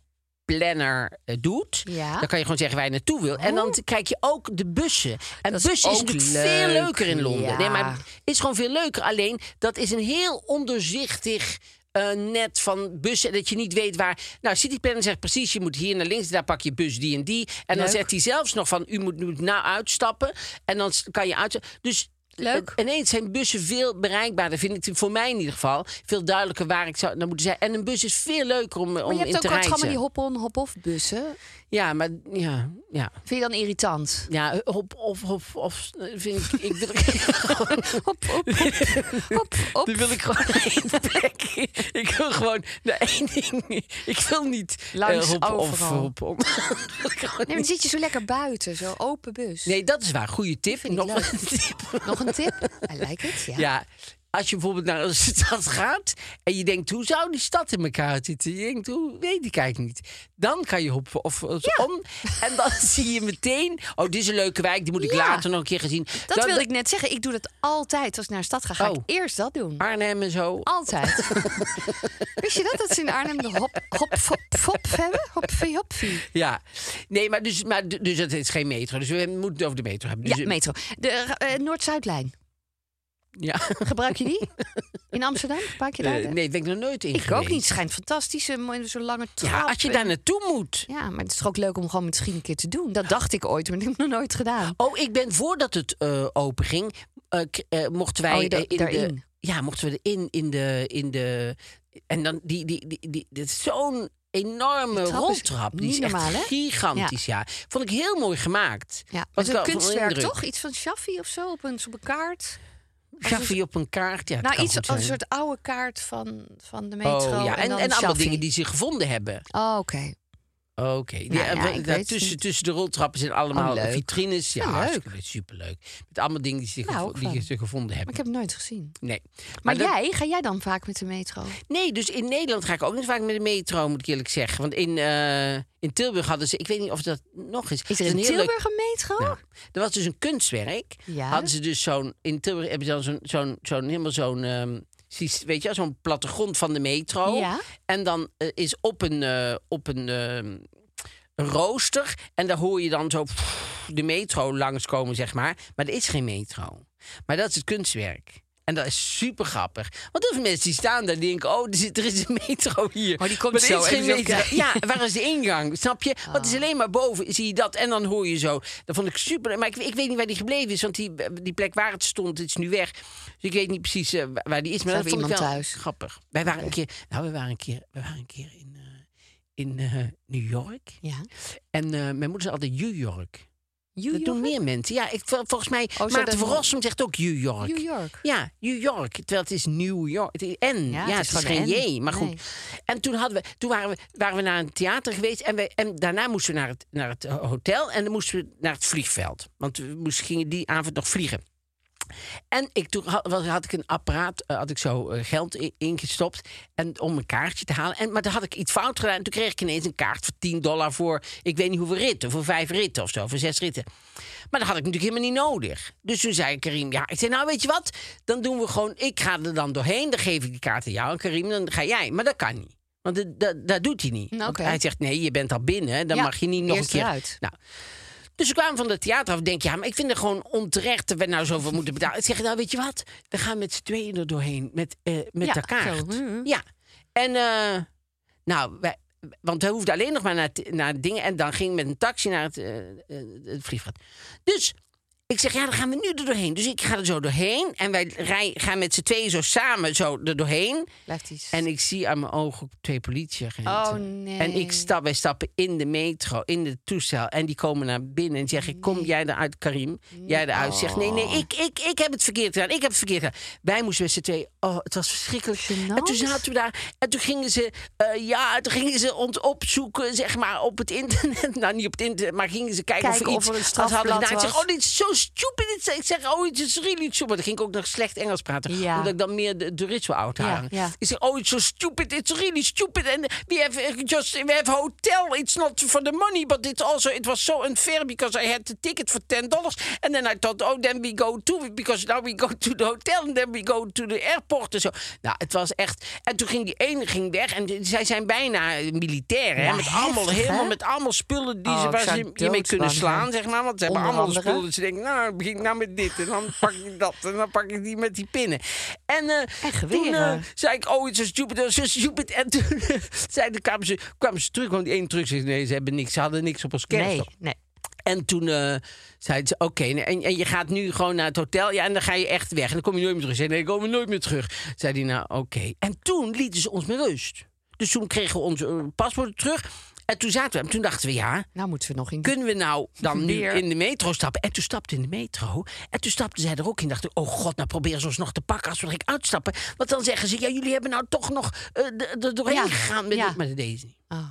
Planner eh, doet,
Ja. Oh.
dan kan je gewoon zeggen waar je naartoe wil. En dan kijk je ook de bussen. En
Dat is
bussen is
ook
natuurlijk veel
leuk,
leuker in Londen.
ja.
Nee, maar het is gewoon veel leuker. Alleen dat is een heel onderzichtig. eh, net van bussen, dat je niet weet waar. Nou, City Planner zegt precies: je moet hier naar links, daar pak je bus die en die. En dan
Leuk.
zegt hij zelfs nog van: u moet nu nou uitstappen. En dan s- kan je uitstappen. Dus
Leuk.
eh, ineens zijn bussen veel bereikbaarder, vind ik voor mij in ieder geval. Veel duidelijker waar ik zou naar moeten zijn. En een bus is veel leuker om, eh,
Maar
om
je
in
hebt
te
ook altijd
reizen.
allemaal die hop-on, hop-off bussen.
Ja, maar ja, ja.
Vind je dan irritant?
Ja, hop, of, of, of, eh, vind ik, ik wil [laughs] er-
Hop, hop, hop, hop, [laughs] hop.
Dan wil ik gewoon naar [laughs] één plek. Ik wil gewoon naar één ding. Ik wil niet eh,
Langs
hop, of
overal.
hop, op.
Nee, maar dan zit je zo lekker buiten, zo open bus.
Nee, dat is waar. Goede tip.
vind ik
Nog
leuk.
een tip.
Nog een tip? Hij lijkt het, ja.
Ja, als je bijvoorbeeld naar een [laughs] stad gaat en je denkt, hoe zou die stad in elkaar zitten? Je denkt, hoe weet ik eigenlijk niet. Dan kan je hop of of om en dan [laughs] zie je meteen, oh, dit is een leuke wijk, die moet ik
Ja.
later nog een keer gezien.
Dat
Dan-
wilde ik net zeggen. Ik doe dat altijd. Als ik naar een stad ga, ga
Oh.
ik eerst dat doen.
Arnhem en zo.
Ah. [laughs] Altijd. Wist je dat? Dat ze in Arnhem de hop, hop, fop, fop hebben? Hopfie, hopfie.
Ja, nee, maar, dus, maar dus het is geen metro. Dus we moeten het over de metro hebben. Dus,
Ja,
eh,
metro. De eh, Noord-Zuidlijn.
Ja.
Gebruik je die? In Amsterdam? Gebruik je daar?
[laughs] Eh,
de-
nee, ik ben ik nog nooit in
ik ook
geweest.
niet. Schijnt fantastisch. eh, mooi, Zo'n lange trap.
Ja, als je daar naartoe moet.
Ja, maar het is toch ook leuk om gewoon misschien een keer te doen. Dat dacht ik ooit, maar dat heb ik nog nooit gedaan.
Oh, ik ben voordat het eh open ging, eh, k- eh, mochten wij
Oh, je da-
eh, in De,
daarin.
ja, mochten we erin in de in de en dan die die die, die dat is zo'n enorme
Die trap is
roltrap, die
niet
is echt
normaal, hè?
gigantisch, ja. Vond ik heel mooi gemaakt.
Ja,
Was
was
ik
een
wel van
kunstwerk
indruk.
toch? Iets van Shaffi of zo op een, op een kaart.
Graffie op een kaart, ja. het
nou,
kan
iets
goed
als een
zijn.
soort oude kaart van, van de metro.
Oh, ja. En, en,
dan
allemaal
Shaffi.
dingen die ze gevonden hebben.
Oh, oké.
Oké. Die-
Nou ja,
en
ik
we-
weet het
daar tussen,
niet.
tussen de roltrappen zijn allemaal
Oh, leuk.
vitrines. Ja,
Ja, leuk.
hartstikke leuk. Superleuk. Met allemaal dingen die ze,
Nou,
gevo-
ook
die
fijn.
ze gevonden
Maar
hebben.
ik heb het nooit gezien.
Nee.
Maar,
dat-
jij, ga jij dan vaak met de metro?
Nee, dus in Nederland ga ik ook niet vaak met de metro, moet ik eerlijk zeggen. Want in, eh, in Tilburg hadden ze, ik weet niet of dat nog is.
Is
een
er in
heel leuk-
Tilburg een metro?
Nou, er was dus een kunstwerk.
Ja.
Hadden ze dus zo'n, in Tilburg hebben ze dan zo'n, zo'n, zo'n helemaal zo'n, ehm, syst- weet je, wel, zo'n plattegrond van de metro.
Ja.
En dan eh, is op een, eh, op een ehm, een rooster en daar hoor je dan zo pff, de metro langskomen, zeg maar. Maar er is geen metro. Maar dat is het kunstwerk. En dat is super grappig. Want heel veel mensen die staan daar die denken: oh, er, zit, er is een metro hier.
Oh, die komt
maar er
zo,
is
even
geen
zo
metro.
kijken.
Ja, waar is de ingang? Snap je? Want
Ah.
het is alleen maar boven, zie je dat. En dan hoor je zo. Dat vond ik super. Maar ik, ik weet niet waar die gebleven is. Want die, die plek waar het stond, het is nu weg. Dus ik weet niet precies eh, waar die is. Maar
Zat
dat
er
vond ik
iemand
wel
thuis?
grappig. Wij waren een keer, nou, we waren een keer, we waren een keer in, eh, in eh, New York.
Ja.
En eh, mijn moeder zei altijd New York.
New Oh,
Dat doen meer mensen. Ja, ik, vol- volgens mij,
zo
Maarten
dat-
van Rossum zegt ook New York.
New York.
Ja, New York. Terwijl het is New York. Het is N. Ja, het is,
gewoon
geen
een
J.
N.
Maar goed.
Nee.
En toen, hadden we, toen waren, we, waren we naar een theater geweest. En, wij, en daarna moesten we naar het, naar het eh, hotel. En dan moesten we naar het vliegveld. Want we moesten, gingen die avond nog vliegen. En ik, toen had, was- had ik een apparaat, eh, had ik zo eh, geld in- ingestopt en, om een kaartje te halen. En, maar toen had ik iets fout gedaan. En toen kreeg ik ineens een kaart voor 10 dollar voor, ik weet niet hoeveel ritten. Voor vijf ritten of zo, voor zes ritten. Maar dat had ik natuurlijk helemaal niet nodig. Dus toen zei ik, Karim, ja, ik zei, nou weet je wat? Dan doen we gewoon, ik ga er dan doorheen. Dan geef ik die kaart aan jou en Karim, dan ga jij. Maar dat kan niet. Want dat, dat, dat doet hij niet.
Nou, Oké.
Want hij zegt, nee, je bent al binnen. Dan
Ja,
mag je niet nog een
eerst
keer.
eruit.
Nou, dus we kwamen van het theater af. Ik Denk ja, maar ik vind het gewoon onterecht dat we nou zoveel moeten betalen. Ik zeg, nou weet je wat? We gaan met z'n tweeën er doorheen met, eh met
Ja,
de kaart.
zo, mhm.
Ja. En eh, nou, wij, want we hoefden alleen nog maar naar, het- naar dingen. En dan ging ik met een taxi naar het, eh, eh, het vliegveld. Dus ik zeg, ja, dan gaan we nu er doorheen. Dus ik ga er zo doorheen. En wij rij, gaan met z'n tweeën zo samen zo er doorheen.
Blijft iets.
En ik zie aan mijn ogen twee politieagenten.
Oh, nee.
En ik stap, wij stappen in de metro, in het toestel. En die komen naar binnen en zeggen: Kom jij eruit, Karim? Jij eruit. Zegt: Nee,
Oh.
nee, ik, ik, ik heb het verkeerd gedaan. Ik heb het verkeerd gedaan. Wij moesten met z'n twee. Oh, het was verschrikkelijk.
Gênant.
En toen zaten we daar. En toen gingen ze, eh, ja, toen gingen ze ons opzoeken, zeg maar, op het internet. [laughs] Nou, niet op het internet, maar gingen ze kijken,
Kijken
of,
of er een
iets als hadden
strafblad
gedaan. Ik zeg:
was.
Oh, dit is zo stupid. Ik zeg: Oh, het is really stupid. Maar dan ging ik ook nog slecht Engels praten.
Ja.
Omdat ik dan meer de, de rits wil uithangen.
Ja, ja.
Ik zeg, oh, it's so stupid, it's really stupid. And we have eh, just, we have hotel, it's not for the money, but it's also, it was so unfair because I had the ticket for $10. And then I thought, oh, then we go to, because now we go [laughs] to the hotel and then we go to the airport en zo. Nou, het was echt, en toen ging die ene ging weg en die- zij zijn bijna eh, militair, hè,
Ja,
met allemaal,
heftig,
helemaal,
hè?
met allemaal spullen die
Oh,
ze,
ik
waar
zou
ze je mee kunnen
doodsbang
slaan,
zijn.
zeg maar, want ze hebben
Onder
allemaal
andere.
spullen. Dus ze denken, nou, ik begin nou met dit en dan pak ik dat en dan pak ik die met die pinnen. En, eh,
En geweren.
toen eh, zei ik, oh, it's so stupid, it's so stupid. En toen [laughs] zei de, kwamen, ze, kwamen ze terug, want die ene terug zei, nee, ze, hebben niks, ze hadden niks op ons kerst.
Nee, nee.
En toen eh, zeiden ze, oké, nee, en, en je gaat nu gewoon naar het hotel. Ja, en dan ga je echt weg. En dan kom je nooit meer terug. Ik Zei, nee, ik kom er nooit meer terug. Zei die, nou, oké. En toen lieten ze ons met rust. Dus toen kregen we ons eh, paspoort terug. En toen zaten we, en toen dachten we, ja,
Nou moeten we nog in.
kunnen we nou dan nu
Weer.
in de metro stappen? En toen stapte in de metro. En toen stapten zij er ook in. Dachten, oh god, nou proberen ze ons nog te pakken als we direct uitstappen. Want dan zeggen ze, ja, jullie hebben nou toch nog eh, d- er doorheen
Ja,
gegaan. Met
ja.
dit. Maar dat deden ze niet.
Oh.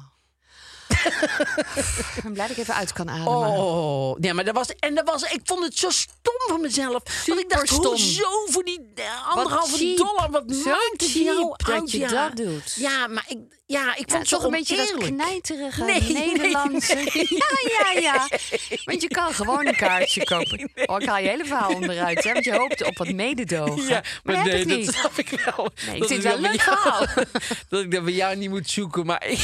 ik ben blij dat ik even uit kan ademen.
Oh, nee, maar dat was, en dat was, ik vond het zo stom van mezelf. want ik dacht,
Superstom.
hoezo voor die eh, anderhalve
cheap.
dollar? Wat
Zo
maakt het nou
cheap dat
uit?
je
ja.
dat doet.
Ja, maar ik, ja, ik vond
Ja,
het zo
toch een beetje dat
oneerlijk.
knijterige
Nee, nee,
Nederlandse.
nee.
Ja, ja, ja. Want je kan gewoon een kaartje kopen. Oh, ik haal je hele verhaal onderuit, hè? Want je hoopt op wat mededogen.
Ja, maar,
dat Nou, heb
nee,
ik
dat
niet.
snap ik wel.
Nee, ik
Dat
vind
ik
het wel
dat
een leuk
bij jou-
verhaal.
[laughs] dat ik dat bij jou niet moet zoeken, maar ik,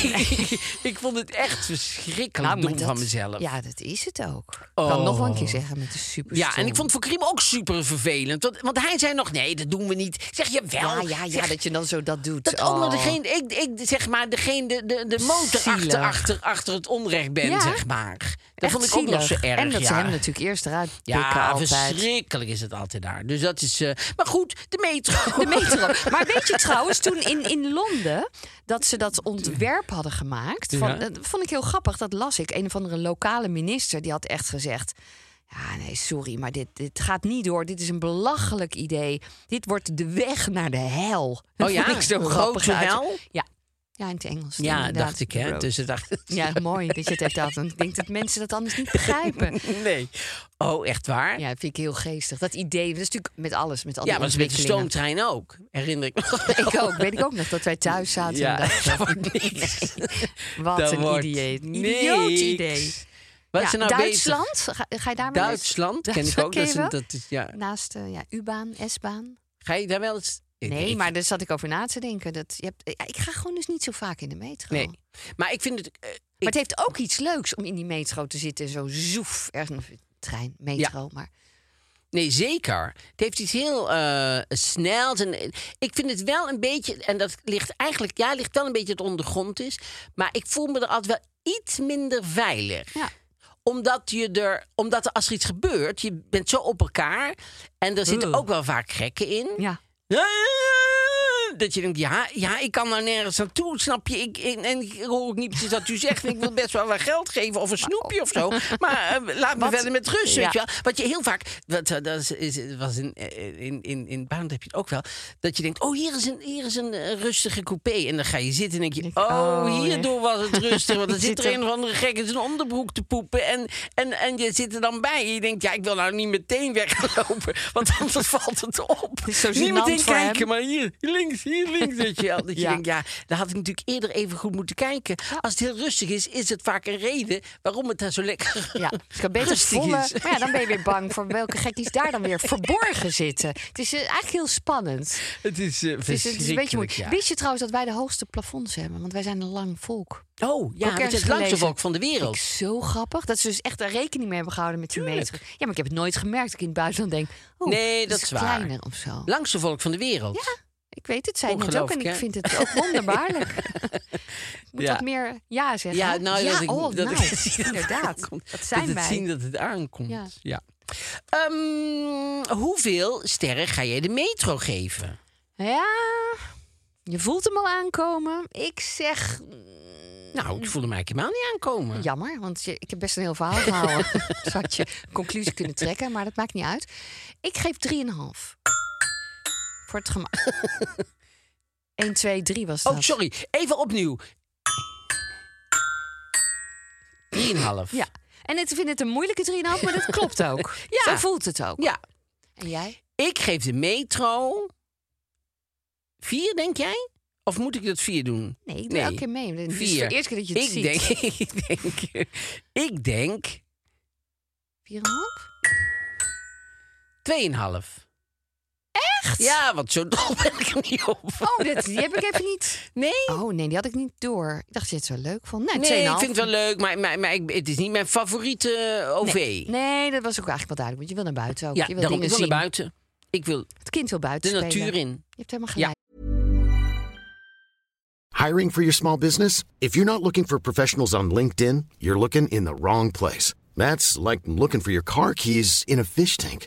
[laughs] ik, vond het echt verschrikkelijk
Nou, maar
dom
dat-
van mezelf.
Ja, dat is het ook. Ik kan nog wel een keer zeggen met de super.
Ja, en ik vond het voor Krim ook super vervelend. Want, want hij zei nog, nee, dat doen we niet. Ik zeg,
Ja,
jawel.
ja, ja,
Zeg,
dat je dan zo dat doet.
dat andere,
Oh.
degene, ik, ik zeg maar, degene, de, de, de motor achter,
Zielig.
achter, achter het onrecht ben,
Ja.
zeg maar. Dat
Echt
vond ik ook nog zo
zielig.
erg.
En dat
ja.
ze hem natuurlijk eerst eruit pikken
ja,
altijd.
verschrikkelijk is het altijd daar. Dus dat is. eh, maar goed, de metro.
[laughs] De metro. Maar weet je trouwens, toen in, in Londen dat ze dat ontwerp hadden gemaakt. Van,
Ja.
Dat vond ik heel grappig, dat las ik. Een of andere lokale minister die had echt gezegd. Ja, nee, sorry, maar dit, dit gaat niet door. Dit is een belachelijk idee. Dit wordt de weg naar de hel. Dat
Oh ja?
vond ik zo
Grote
grappig uit-
hel?
Ja. ja, in het Engels.
Ja,
inderdaad.
dacht ik, hè? Dus ik [laughs] dacht.
[laughs] Ja, mooi dat je het hebt gehad. Want ik denk dat mensen dat anders niet begrijpen.
Nee. Oh, echt waar?
Ja,
Ja,
dat vind ik heel geestig. Dat idee, dat is natuurlijk met alles, met al die
maar dat is met de
ontwikkelingen.
stoomtrein ook. Herinner ik me. nog wel. [laughs]
[laughs] Ik ook, weet ik ook nog dat wij thuis zaten
Ja,
en
[laughs]
dachten,
dat wordt niks.
wat
Dat
een
wordt
idioot,
niks.
idioot idee.
Wat
Ja,
is er nou
Duitsland,
bezig?
Ga, ga je daar wel eens-
Duitsland ken ik
Duitsland
ook.
ken
Dat
je
is, een-
wel?
dat is, ja.
Naast eh, ja, U-baan, S-baan.
Ga je daar wel eens? Ik-
Nee,
ik-
maar daar zat ik over na te denken. Dat, je hebt, ja, ik ga gewoon dus niet zo vaak in de metro.
Nee. Maar ik vind het. eh,
Maar
ik-
het heeft ook iets leuks om in die metro te zitten. Zo zoef, ergens een trein, metro. Maar
Nee, zeker. Het heeft iets heel eh snels. En eh, ik vind het wel een beetje, en dat ligt eigenlijk, ja, ligt wel een beetje het ondergrond is. Maar ik voel me er altijd wel iets minder veilig.
Ja.
Omdat je er, omdat er als er iets gebeurt, je bent zo op elkaar. En er zitten
Ugh.
ook wel vaak gekken in.
Ja.
Dat je denkt, ja, ja, ik kan daar nergens naartoe, snap je? Ik, ik- en ik hoor ook niet precies wat u zegt. en Ik wil best wel wat geld geven of een snoepje of zo. Maar eh, laat me verder met rust, weet
Ja.
je wel. Wat je heel vaak, wat, eh, dat is, is- was in, eh, in, in, in Bound heb je het ook wel. Dat je denkt, oh, hier is een, hier is een eh, rustige coupé. En dan ga je zitten en denk je, oh,
oh,
hierdoor was het rustig.
[laughs]
Want dan
Je
zit er
zit er-
een of andere gek in zijn onderbroek te poepen. En, en, en je zit er dan bij. En je denkt, ja, ik wil nou niet meteen weglopen. Want anders [laughs] valt het op.
is zo
niet
gênant
meteen
voor
kijken,
hem.
maar hier, links, hier, links. Weet je wel. Dat je
Ja.
denkt, ja, daar had ik natuurlijk eerder even goed moeten kijken. Als het heel rustig is, is het vaak een reden waarom het daar zo lekker
[laughs] Ja, dus ik kan beter
rustig
volle.
is.
Maar ja, dan ben je weer bang voor welke gekkies daar dan weer verborgen zitten. Het is eh, eigenlijk heel spannend.
[laughs] Het is, eh,
Het is, het is een beetje
verschrikkelijk,
moeilijk.
ja.
Wist je trouwens dat wij de hoogste plafonds hebben? Want wij zijn een lang volk.
Oh, ja, het is
Ook ergens
het langste
gelezen.
volk van de wereld.
Ik, zo grappig. Dat ze dus echt daar rekening mee hebben gehouden met die meter. Ja, maar ik heb het nooit gemerkt. Dat Ik in het buitenland denk, oh,
Nee,
dat,
dat
is
is waar.
kleiner of zo.
Langste volk van de wereld.
Ja, ik weet het, zei het net ook. En
Ongelooflijk,
ik
hè?
vind het ook
[laughs]
wonderbaarlijk. Ik Moet
Ja.
wat meer ja zeggen.
Ja, nou,
ja,
dat ik,
oh,
dat [laughs]
nou,
ik zie dat het
inderdaad.
aankomt.
Dat zijn
het
wij.
zien dat het aankomt.
Ja.
Ja. Ehm, hoeveel sterren ga jij de metro geven?
Ja, je voelt hem al aankomen. Ik zeg mm,
Nou, ik voelde mij helemaal niet aankomen.
jammer, want je, ik heb best een heel verhaal [laughs] gehouden. dus had je conclusie kunnen trekken, maar dat maakt niet uit. Ik geef 3,5. Voor het [laughs] gemak. 1, 2, 3 was dat.
Oh, sorry. Even opnieuw. 3,5.
Ja. En ik vind het een moeilijke 3,5, maar dat klopt [laughs] ook.
Ja.
Zo voelt het ook.
Ja.
En jij?
Ik geef de metro... 4, denk jij? Of moet ik dat 4 doen?
Nee, ik doe elke keer mee. Dit is de
Vier.
eerste keer dat je het
ik
ziet.
Denk, [laughs] ik denk... Ik denk...
4,5?
2,5. Echt? Ja, want zo dol [laughs] ben ik er niet op.
Oh, dit, die heb ik even niet.
Nee?
Oh nee, die had ik niet door. Ik dacht, je het zo leuk vond. Nee,
Nee,
2,5.
ik vind het wel leuk, maar, maar, maar ik, het is niet mijn favoriete eh, OV.
Nee, nee, dat was ook eigenlijk wel duidelijk. Want je wil naar buiten ook.
Ja,
je wil
daarom,
dingen
ik wil
zien.
naar buiten. Ik wil
Het kind wil
de
buiten spelen.
natuur in.
Je hebt helemaal
Ja.
gelijk.
Hiring for your small business? If you're not looking for professionals on LinkedIn, you're looking in the wrong place. That's like looking for your car keys in a fish tank.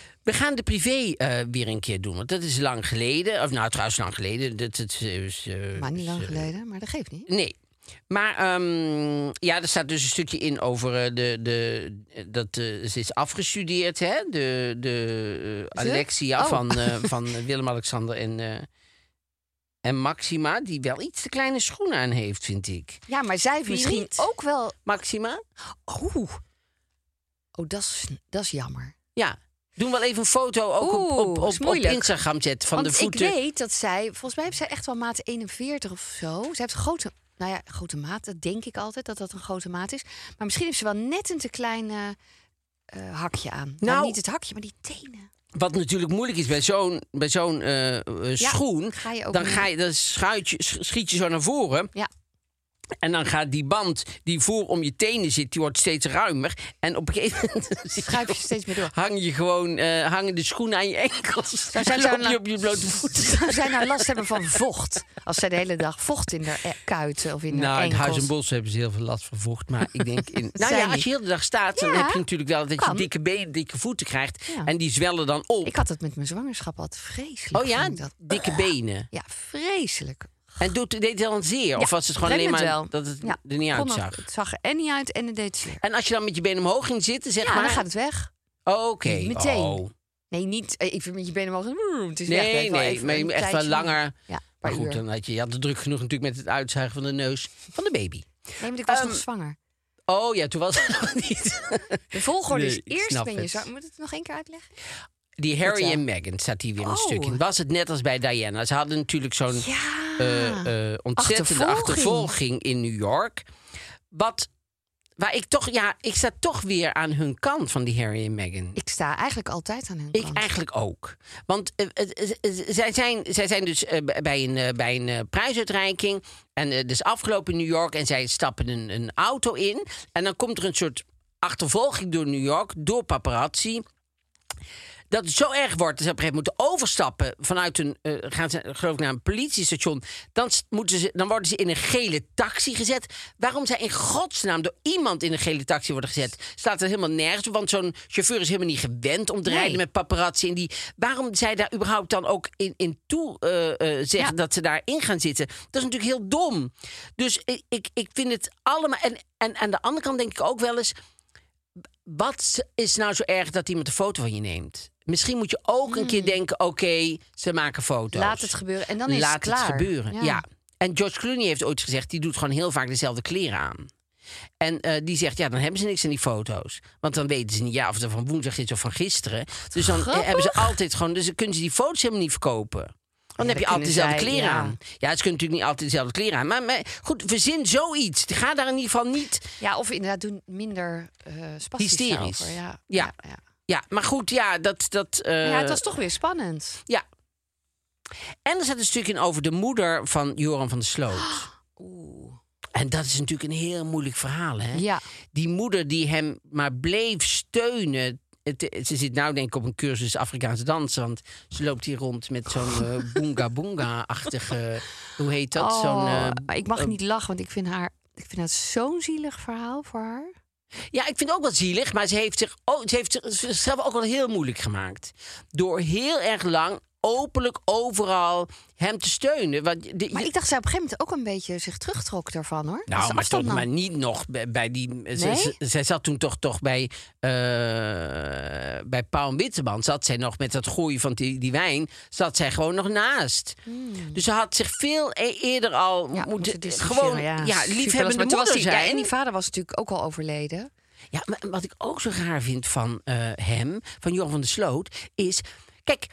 We gaan de privé eh, weer een keer doen, want dat is lang geleden. Of nou, trouwens lang geleden. Dat, dat is, eh,
Maar niet lang
is, eh,
geleden, maar dat geeft niet.
Nee. Maar ehm, ja, er staat dus een stukje in over eh, de, de, dat eh, ze is afgestudeerd, hè? De, de eh,
Ze?
Alexia
Oh.
van,
[laughs]
eh, van Willem-Alexander en, eh, en Maxima, die wel iets te kleine schoenen aan heeft, vind ik.
Ja, maar zij heeft
Wie
misschien
niet?
ook wel...
Maxima?
Oh, oh dat, is, dat is jammer.
Ja. Doen wel even een foto ook op,
Oeh,
op,
is
op, op
moeilijk.
Instagram zetten van
Want
de voeten.
ik weet dat zij... Volgens mij heeft zij echt wel maat 41 of zo. Ze heeft grote... Nou ja, grote maat, dat denk ik altijd, dat dat een grote maat is. Maar misschien heeft ze wel net een te klein eh, hakje aan. Nou,
Nou.
niet het hakje, maar die tenen.
Wat natuurlijk moeilijk is bij zo'n bij zo'n eh, eh, schoen,
ga je ook
dan,
niet-
ga je, dan schuit je, sch- schiet je zo naar voren.
Ja.
En dan gaat die band die voor om je tenen zit, die wordt steeds ruimer. En op een gegeven moment [laughs] zit
Schuif je steeds meer door.
hang je gewoon, eh, hangen de schoenen aan je enkels.
Zou
Dan
zij
loop
nou-
je [laughs] op je
[laughs]
blote voeten.
Zou zij nou last hebben van vocht? Als zij de hele dag vocht in haar eh, kuiten of in haar
Nou, in
enkels.
Huis en Bos hebben ze heel veel last van vocht. Maar ik denk...
[laughs]
In, nou
Zij
ja, als
niet.
je heel de dag staat, dan
Ja,
heb je natuurlijk wel... dat
kan.
je dikke benen, dikke voeten krijgt.
Ja.
En die zwellen dan op.
Ik had het met mijn zwangerschap altijd vreselijk.
oh ja,
vond ik dat.
dikke benen.
Ja, vreselijk.
En doet, deed het dan zeer?
Ja,
of was het gewoon alleen
remmend
maar
wel.
dat het
Ja,
er niet
kon nog-
uitzag?
Het zag er en niet uit en het deed zeer.
En als je dan met je benen omhoog ging zitten, zeg
Ja,
maar...
dan gaat het weg.
Oh, Oké.
Meteen.
Oh.
Nee, niet eh, even met je benen omhoog. mm, Het is
Nee,
weg. Het heeft wel
nee,
even
maar je
een
moet echt wel
tijdje
langer.
nog- Ja,
Maar goed,
dan.
dan had je, je had het druk genoeg natuurlijk met het uitzuigen van de neus van de baby.
Nee, want ik was
Ehm,
nog zwanger.
Oh ja, toen was het [laughs] nog niet.
De volgorde
nee,
is
ik
eerst
snap
ben je
het.
zwanger. Moet ik het nog één keer uitleggen?
Die Harry
Vertel.
en Meghan staat hier weer een
Oh.
stuk in. Was het net als bij Diana? Ze hadden natuurlijk zo'n
Ja.
eh, eh, ontzettende
Achtervolging.
achtervolging. in New York. Wat, waar ik toch, ja, ik sta toch weer aan hun kant van die Harry en Meghan.
Ik sta eigenlijk altijd aan hun
Ik
kant.
eigenlijk ook. Want eh, het- het- het- zij, zijn, zij zijn dus eh, b- bij een, eh, bij een eh, prijsuitreiking. En eh, dus afgelopen in New York. En zij stappen een, een auto in. En dan komt er een soort achtervolging door New York. Door paparazzi. Dat het zo erg wordt dat ze op een gegeven moment moeten overstappen. Vanuit een, eh, gaan ze geloof ik naar een politiestation. Dan, s- moeten ze, dan worden ze in een gele taxi gezet. Waarom zij in godsnaam door iemand in een gele taxi worden gezet... staat er helemaal nergens op. Want zo'n chauffeur is helemaal niet gewend om te
Nee.
rijden met paparazzi. En die, waarom zij daar überhaupt dan ook in, in toe eh, eh, zeggen dat ze daarin gaan zitten... dat is natuurlijk heel dom. Dus ik, ik, ik vind het allemaal... En, en aan de andere kant denk ik ook wel eens wat is nou zo erg dat iemand een foto van je neemt? Misschien moet je ook een keer denken: oké, ze maken foto's.
Hmm. Laat het gebeuren. En dan is het
Laat
klaar.
gebeuren.
Ja.
Ja. En George Clooney heeft ooit gezegd: die doet gewoon heel vaak dezelfde kleren aan. En eh, die zegt, ja, dan hebben ze niks aan die foto's. Want dan weten ze niet, ja, of het van woensdag is of van gisteren. Dus dan eh,
Grappig.
hebben ze altijd gewoon... Dus dan kunnen ze die foto's helemaal niet verkopen. Dan
Ja,
heb je
dan
altijd
kunnen
dezelfde
zij-
kleren
ja.
aan. Ja, ze kunnen natuurlijk niet altijd dezelfde kleren aan. Maar, maar goed, verzin zoiets. Ga daar in ieder geval niet...
Ja, of inderdaad doen minder eh spastisch
Hysterisch.
daarover. Ja.
Ja.
Ja,
Ja, maar goed, ja, dat... dat eh,
Maar ja, het was toch weer spannend.
Ja. En er zat een stuk in over de moeder van Joran van der Sloot.
[gasps]
En dat is natuurlijk een heel moeilijk verhaal, hè?
Ja.
Die moeder die hem maar bleef steunen. Het- ze zit nou denk ik op een cursus Afrikaanse dansen. Want ze loopt hier rond met
[laughs]
zo'n eh, boonga boonga-achtige... Hoe heet dat?
Oh,
Zo'n, eh,
maar ik mag
eh,
niet lachen, want ik vind haar. Ik vind dat zo'n zielig verhaal voor haar.
Ja, ik vind het ook wel zielig, maar ze heeft, zich, oh, ze heeft zich- zichzelf ook wel heel moeilijk gemaakt. Door heel erg lang openlijk overal hem te steunen. Want de-
Maar ik dacht zij op een gegeven moment ook een beetje zich terugtrok daarvan hoor. Dat
Nou,
ze
maar,
afstand
toch,
nam.
maar niet nog bij, bij die. Zij,
Nee?
zij- zij zat toen toch, toch bij, eh bij Paul en Witteman. Zat zij nog met dat gooien van die, die wijn. Zat zij gewoon nog naast. Dus ze had zich veel e- eerder al
Hmm. Ja, moeten
moeten.
distancieren,
gewoon ja, liefhebbende
Maar toen
moeder
was die-
zijn.
Ja, en die vader was natuurlijk ook al overleden.
Ja, maar wat ik ook zo raar vind van eh, hem, van Johan van der Sloot, is... Kijk,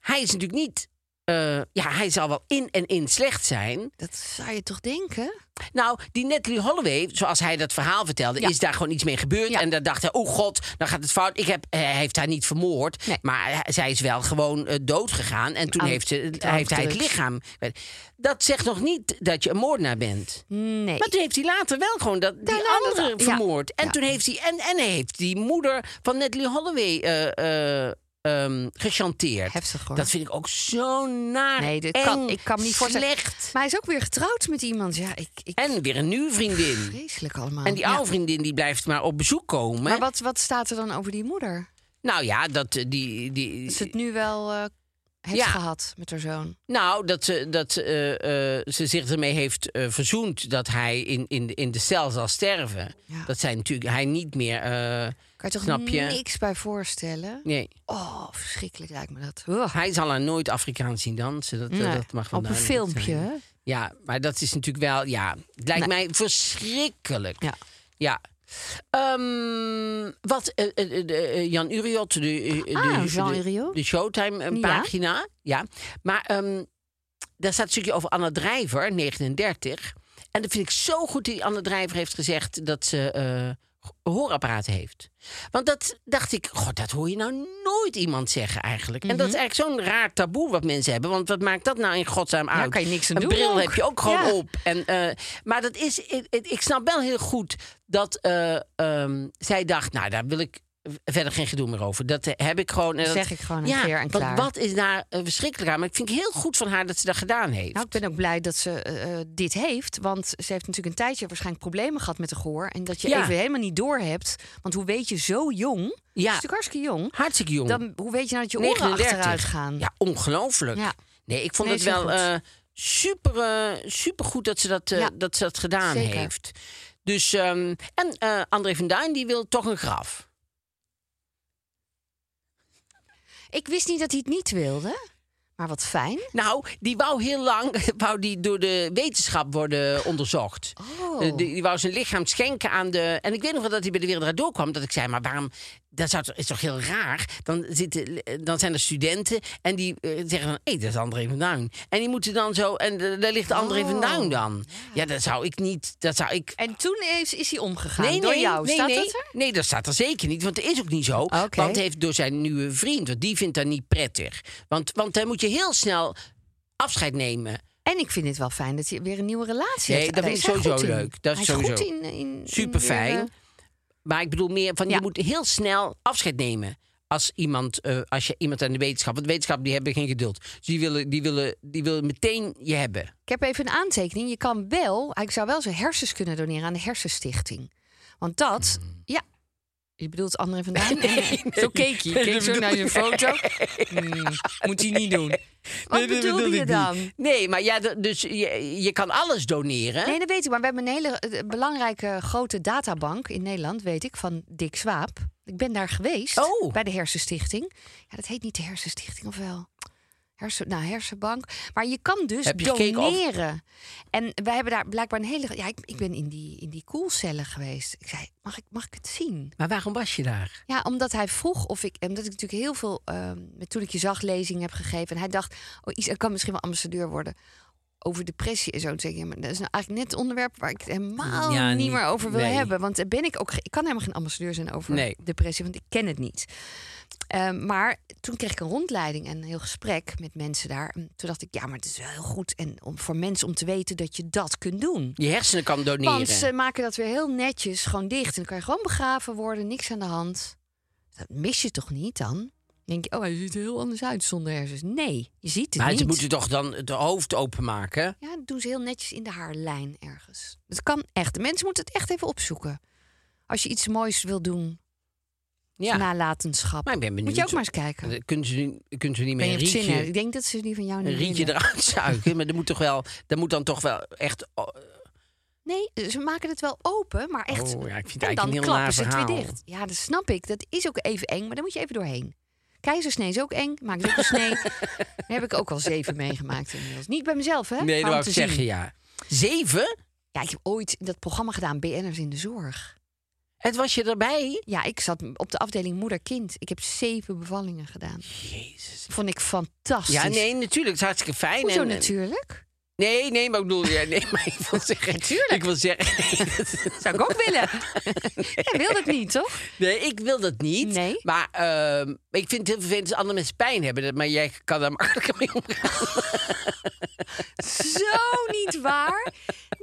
hij is natuurlijk niet... eh, ja, hij zal wel in en in slecht zijn.
Dat zou je toch denken?
Nou, die Natalie Holloway, zoals hij dat verhaal vertelde...
Ja.
is daar gewoon iets mee gebeurd.
Ja.
En daar dacht hij, oh god, dan gaat het fout. Ik heb, eh, hij heeft haar niet vermoord.
Nee.
Maar hij- zij is wel gewoon eh, dood gegaan. En toen
Aan-
heeft, ze,
aan
heeft hij het
drugs.
lichaam... Dat zegt nog niet dat je een moordenaar bent.
Nee.
Maar toen heeft hij later wel gewoon dat, die
Daarna dat-
andere
ja.
vermoord. En
Ja.
toen heeft hij en, en hij heeft die moeder van Natalie Holloway eh eh ehm, gechanteerd.
Heftig, hoor.
Dat vind ik ook zo naar.
nee, dit
eng,
kan, ik kan me niet voorstellen.
Slecht.
Maar hij is ook weer getrouwd met iemand. Ja, ik, ik
En weer een nieuwe vriendin.
vreselijk allemaal.
En die
Ja.
oude vriendin die blijft maar op bezoek komen.
Maar wat, wat staat er dan over die moeder?
Nou ja, dat eh, die. die
Dat ze het nu wel eh, heeft
Ja.
gehad met haar zoon.
Nou, dat ze, dat, ze, eh, eh, ze zich ermee heeft eh, verzoend dat hij in, in, in de cel zal sterven.
Ja.
Dat zij natuurlijk, hij niet meer. eh,
Kan je toch
Snap je?
niks bij voorstellen?
nee.
Oh, verschrikkelijk lijkt me dat. Ugh.
Hij zal haar nooit Afrikaans zien dansen. Dat, dat-
Nee,
dat mag wel
op een
duidelijk zijn.
filmpje. hè?
Ja, maar dat is natuurlijk wel... Ja, het lijkt mij verschrikkelijk.
Ja.
Ja. Ehm, wat eh, eh, eh, eh, Jan Uriot, de, eh, de,
Ah,
de-
Jean Uriot.
de Showtime-pagina. Ja. Maar ehm, daar staat een stukje over Anna Drijver, 39. En dat vind ik zo goed die Anne Drijver heeft gezegd dat ze eh, hoorapparaten heeft. Want dat dacht ik, god, dat hoor je nou nooit iemand zeggen eigenlijk. En
Mhm.
dat is eigenlijk zo'n raar taboe wat mensen hebben. Want wat maakt dat nou in godsnaam uit?
kan je niks aan
een
doen
bril
ook.
heb je ook gewoon
Ja.
op. En, eh, maar dat is, ik, ik- ik snap wel heel goed dat eh, ehm, zij dacht, nou daar wil ik verder geen gedoe meer over. Dat eh, heb ik gewoon. en dat-
Zeg ik gewoon een
ja,
keer en
want
klaar.
Wat is daar eh, verschrikkelijk aan? Maar ik vind het heel goed van haar dat ze dat gedaan heeft.
Nou, ik ben ook blij dat ze eh, eh, dit heeft. Want ze heeft natuurlijk een tijdje waarschijnlijk problemen gehad met de gehoor. En dat je
Ja.
even helemaal niet door hebt. Want hoe weet je zo jong? Ze is
ja,
natuurlijk hartstikke jong.
hartstikke jong.
Dan, hoe weet je nou dat je oren
39.
achteruit gaan?
Ja, ongelooflijk.
Ja.
Nee, ik vond
Nee,
het
is heel
wel
goed.
eh super, eh, super goed dat ze dat, eh,
Ja,
dat, ze dat gedaan
zeker.
heeft. Dus, ehm, en eh, André van Duin, die wil toch een graf.
Ik wist niet dat hij het niet wilde. Maar wat fijn.
Nou, die wou heel lang [laughs] wou die door de wetenschap worden onderzocht.
Oh.
Eh, Die, die wou zijn lichaam schenken aan de... En ik weet nog wel dat hij bij de Wereld Draait Door kwam. Dat ik zei, maar waarom Dat zou toch- is toch heel raar? Dan, zitten, eh, dan zijn er studenten en die eh, zeggen dan... hé, dat is André van Duin. En die moeten dan zo... en eh, daar ligt André van Duin dan. Ja, dat zou ik niet... Dat zou ik
En toen is, is hij omgegaan door jou.
nee,
Staat
nee,
dat er?
Nee, dat staat er zeker niet, want dat is ook niet zo.
Oké.
Want hij heeft door zijn nieuwe vriend, want die vindt dat niet prettig. Want, want dan moet je heel snel afscheid nemen.
En ik vind het wel fijn dat hij weer een nieuwe relatie
Nee,
heeft.
dat
Daar
vind
is
ik
hij
sowieso
goed in.
leuk. Dat is
hij is
sowieso
goed in, in, in
Super
weer,
fijn.
eh,
Maar ik bedoel meer van,
Ja.
je moet heel snel afscheid nemen. Als, iemand, eh, als je iemand aan de wetenschap... Want wetenschap, die hebben geen geduld. Dus die willen, die willen, die willen meteen je [laughs] hebben.
Ik heb even een aantekening. Je kan wel, ik zou wel zijn hersens kunnen doneren aan de Hersenstichting. Want dat, ja. Je bedoelt André
[laughs]
van Duin? Zo keek
Hmm.
hij.
Nee,
Keek
dat
zo naar zijn foto.
[laughs]
Hmm, moet hij niet doen. Wat
Nee, dat
bedoelde
bedoel
je
ik niet.
dan?
Nee, maar ja, d- dus je, je kan alles doneren.
Nee, dat weet ik. Maar we hebben een hele eh, belangrijke grote databank in Nederland, weet ik, van Dick Swaap. Ik ben daar geweest
Oh.
bij de Hersenstichting. Ja, dat heet niet de Hersenstichting, of wel? Hersen, nou, hersenbank. Maar je kan dus
Heb je gekeken of-
doneren. En wij hebben daar blijkbaar een hele. Ja, ik, ik ben in die, in die koelcellen geweest. Ik zei: mag ik, mag ik het zien?
Maar waarom was je daar?
Ja, omdat hij vroeg of ik. Omdat ik natuurlijk heel veel. ehm, toen ik je zag, lezingen heb gegeven. En hij dacht. Oh, Isa kan misschien wel ambassadeur worden. Over depressie en zo. Toen zei ik, ja, maar dat is nou eigenlijk net het onderwerp waar ik het helemaal
Ja,
niet
niet-
meer over wil
nee.
hebben. Want daar ben ik ook. ge- Ik kan helemaal geen ambassadeur zijn over
Nee.
depressie, want ik ken het niet. Ehm, maar toen kreeg ik een rondleiding en een heel gesprek met mensen daar. En toen dacht ik, ja, maar het is wel heel goed en om, voor mensen om te weten dat je dat kunt doen.
Je hersenen kan doneren.
Want ze maken dat weer heel netjes gewoon dicht. En dan kan je gewoon begraven worden, niks aan de hand. Dat mis je toch niet dan? Dan denk je, oh, hij ziet er heel anders uit zonder hersens. Nee, je ziet het
maar
niet.
ze moeten toch dan het hoofd openmaken?
Ja, dat doen ze heel netjes in de haarlijn ergens. Dat kan echt. De mensen moeten het echt even opzoeken. Als je iets moois wil doen,
Ja.
nalatenschap.
Maar ik ben benieuwd.
Moet je ook maar eens kijken.
Eh, Kunnen ze, nu- kunnen ze niet
ben
meer
je
een
op zin hè? Ik
rietje,
denk dat ze die van jou
een
niet
rietje
willen.
eruit [laughs] zuigen? maar dat moet, toch wel, dat moet dan toch wel echt... oh,
Nee, ze maken het wel open, maar echt.
Oh, ja, ik vind het
en
eigenlijk
dan
een heel
klappen
naar
ze het weer
verhaal.
dicht. Ja, dat snap ik. Dat is ook even eng, maar daar moet je even doorheen. Keizersnee is ook eng. Maak ze ook een
[laughs]
snee. daar heb ik ook al zeven meegemaakt inmiddels. Niet bij mezelf, hè? maar
nee,
om
dat wou
te
ik
zien.
zeggen, ja. Zeven?
Ja, ik heb ooit dat programma gedaan, BN'ers in de zorg.
Het was je erbij?
Ja, ik zat op de afdeling moeder-kind. Ik heb zeven bevallingen gedaan.
Jezus.
Vond ik fantastisch.
Ja, nee, natuurlijk. Het is hartstikke fijn.
Hoezo
en- en-
natuurlijk?
Nee, nee, maar ik bedoel... Ja, nee, [laughs] maar ik wil zeggen...
Natuurlijk.
Ik wil zeggen... [laughs]
Zou ik ook willen. [laughs] Jij wil dat niet, toch?
Nee, ik wil dat niet.
Nee?
Maar ehm, ik vind het heel vervelend als andere mensen pijn hebben. dat- Maar jij kan daar makkelijker mee omgaan.
Zo niet waar.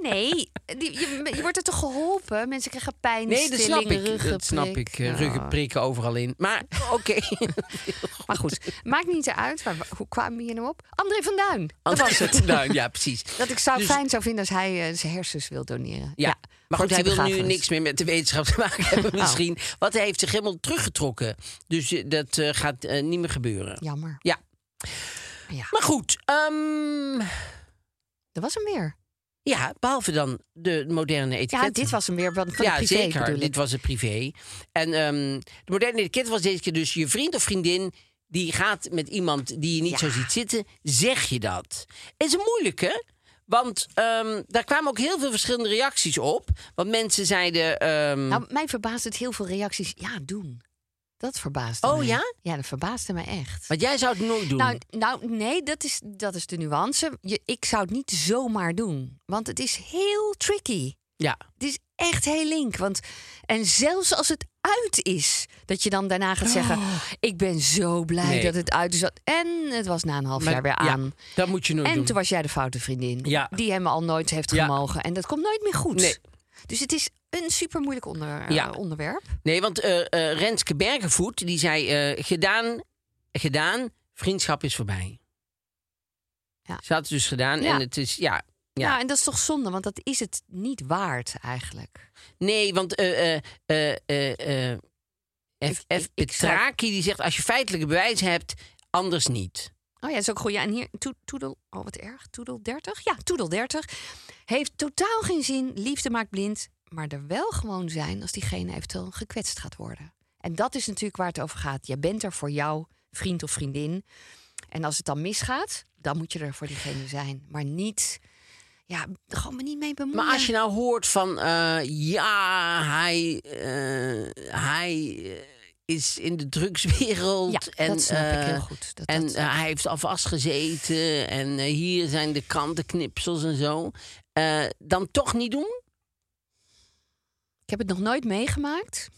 Nee, die, je, je wordt er toch geholpen? Mensen krijgen pijn,
Nee, dat snap ik.
Ruggen,
Dat snap ik. eh, Ruggen prikken overal in.
[laughs]
Maar oké. [laughs]
Maar goed, maakt niet uit. Waar, hoe kwamen we hier nou op? André van Duin. Dat was het.
[laughs] Nou, ja, precies.
Dat ik zou
Dus-
fijn zou vinden als hij eh, zijn hersens wil doneren.
Ja. Maar goed, hij wil nu
begrafenis.
niks meer met de wetenschap te
[laughs]
maken hebben
Nou.
misschien. Want hij heeft zich helemaal teruggetrokken. Dus eh, dat eh, gaat eh, niet meer gebeuren.
Jammer.
Ja.
Ja,
Maar goed, ehm,
dat was hem weer.
ja, behalve dan de moderne etiket.
Ja, dit was hem weer van, van
ja,
de privé
zeker.
bedoel ik.
Dit was het privé. En ehm, de moderne etiket was deze keer dus je vriend of vriendin... die gaat met iemand die je niet zo ziet zitten, zeg je dat. Is een moeilijke, want ehm, daar kwamen ook heel veel verschillende reacties op. Want mensen zeiden... ehm,
Nou, mij verbaast het heel veel reacties. Ja, doen. Dat verbaasde
Oh,
mij.
ja?
Ja, dat verbaasde mij echt.
want jij zou het nooit doen.
Nou, nou nee, dat is, dat is de nuance. Je, ik zou het niet zomaar doen. Want het is heel tricky.
ja.
Het is echt heel link. Want, en zelfs als het uit is, dat je dan daarna gaat zeggen... ik ben zo blij
Oh. Nee.
dat het uit is. En het was na een half jaar weer
ja,
aan.
dat moet je nooit
en
doen.
toen was jij de foute vriendin.
Ja.
Die hem al nooit heeft
Ja.
gemogen. En dat komt nooit meer goed.
Nee.
Dus het is een super moeilijk onder,
Ja.
eh, onderwerp.
Nee, want eh eh, Renske Bergenvoet, die zei... eh, gedaan, gedaan, vriendschap is voorbij.
Ja.
Ze had het dus gedaan
Ja.
en het is... Ja,
Ja.
ja.
Nou, en dat is toch zonde, want dat is het niet waard eigenlijk.
Nee, want eh eh eh eh eh, F,
Ik-
F
ik- ik zou-
Petraki die zegt als je feitelijke bewijzen hebt, anders niet.
Oh ja, dat is ook goed. Ja, en hier, toe- Toedel, oh wat erg, Toedel 30? Ja, Toedel 30. Heeft totaal geen zin, liefde maakt blind. Maar er wel gewoon zijn als diegene eventueel gekwetst gaat worden. En dat is natuurlijk waar het over gaat. Jij bent er voor jouw vriend of vriendin. En als het dan misgaat, dan moet je er voor diegene zijn. Maar niet, ja, gewoon me niet mee bemoeien.
Maar als je nou hoort van eh, ja, hij, eh, hij eh, is in de drugswereld.
Ja, dat
en,
snap ik
eh,
heel goed. Dat-
en
dat-
eh, hij heeft al vastgezeten. En eh, hier zijn de krantenknipsels en zo. Eh, dan toch niet doen?
Ik heb het nog nooit meegemaakt.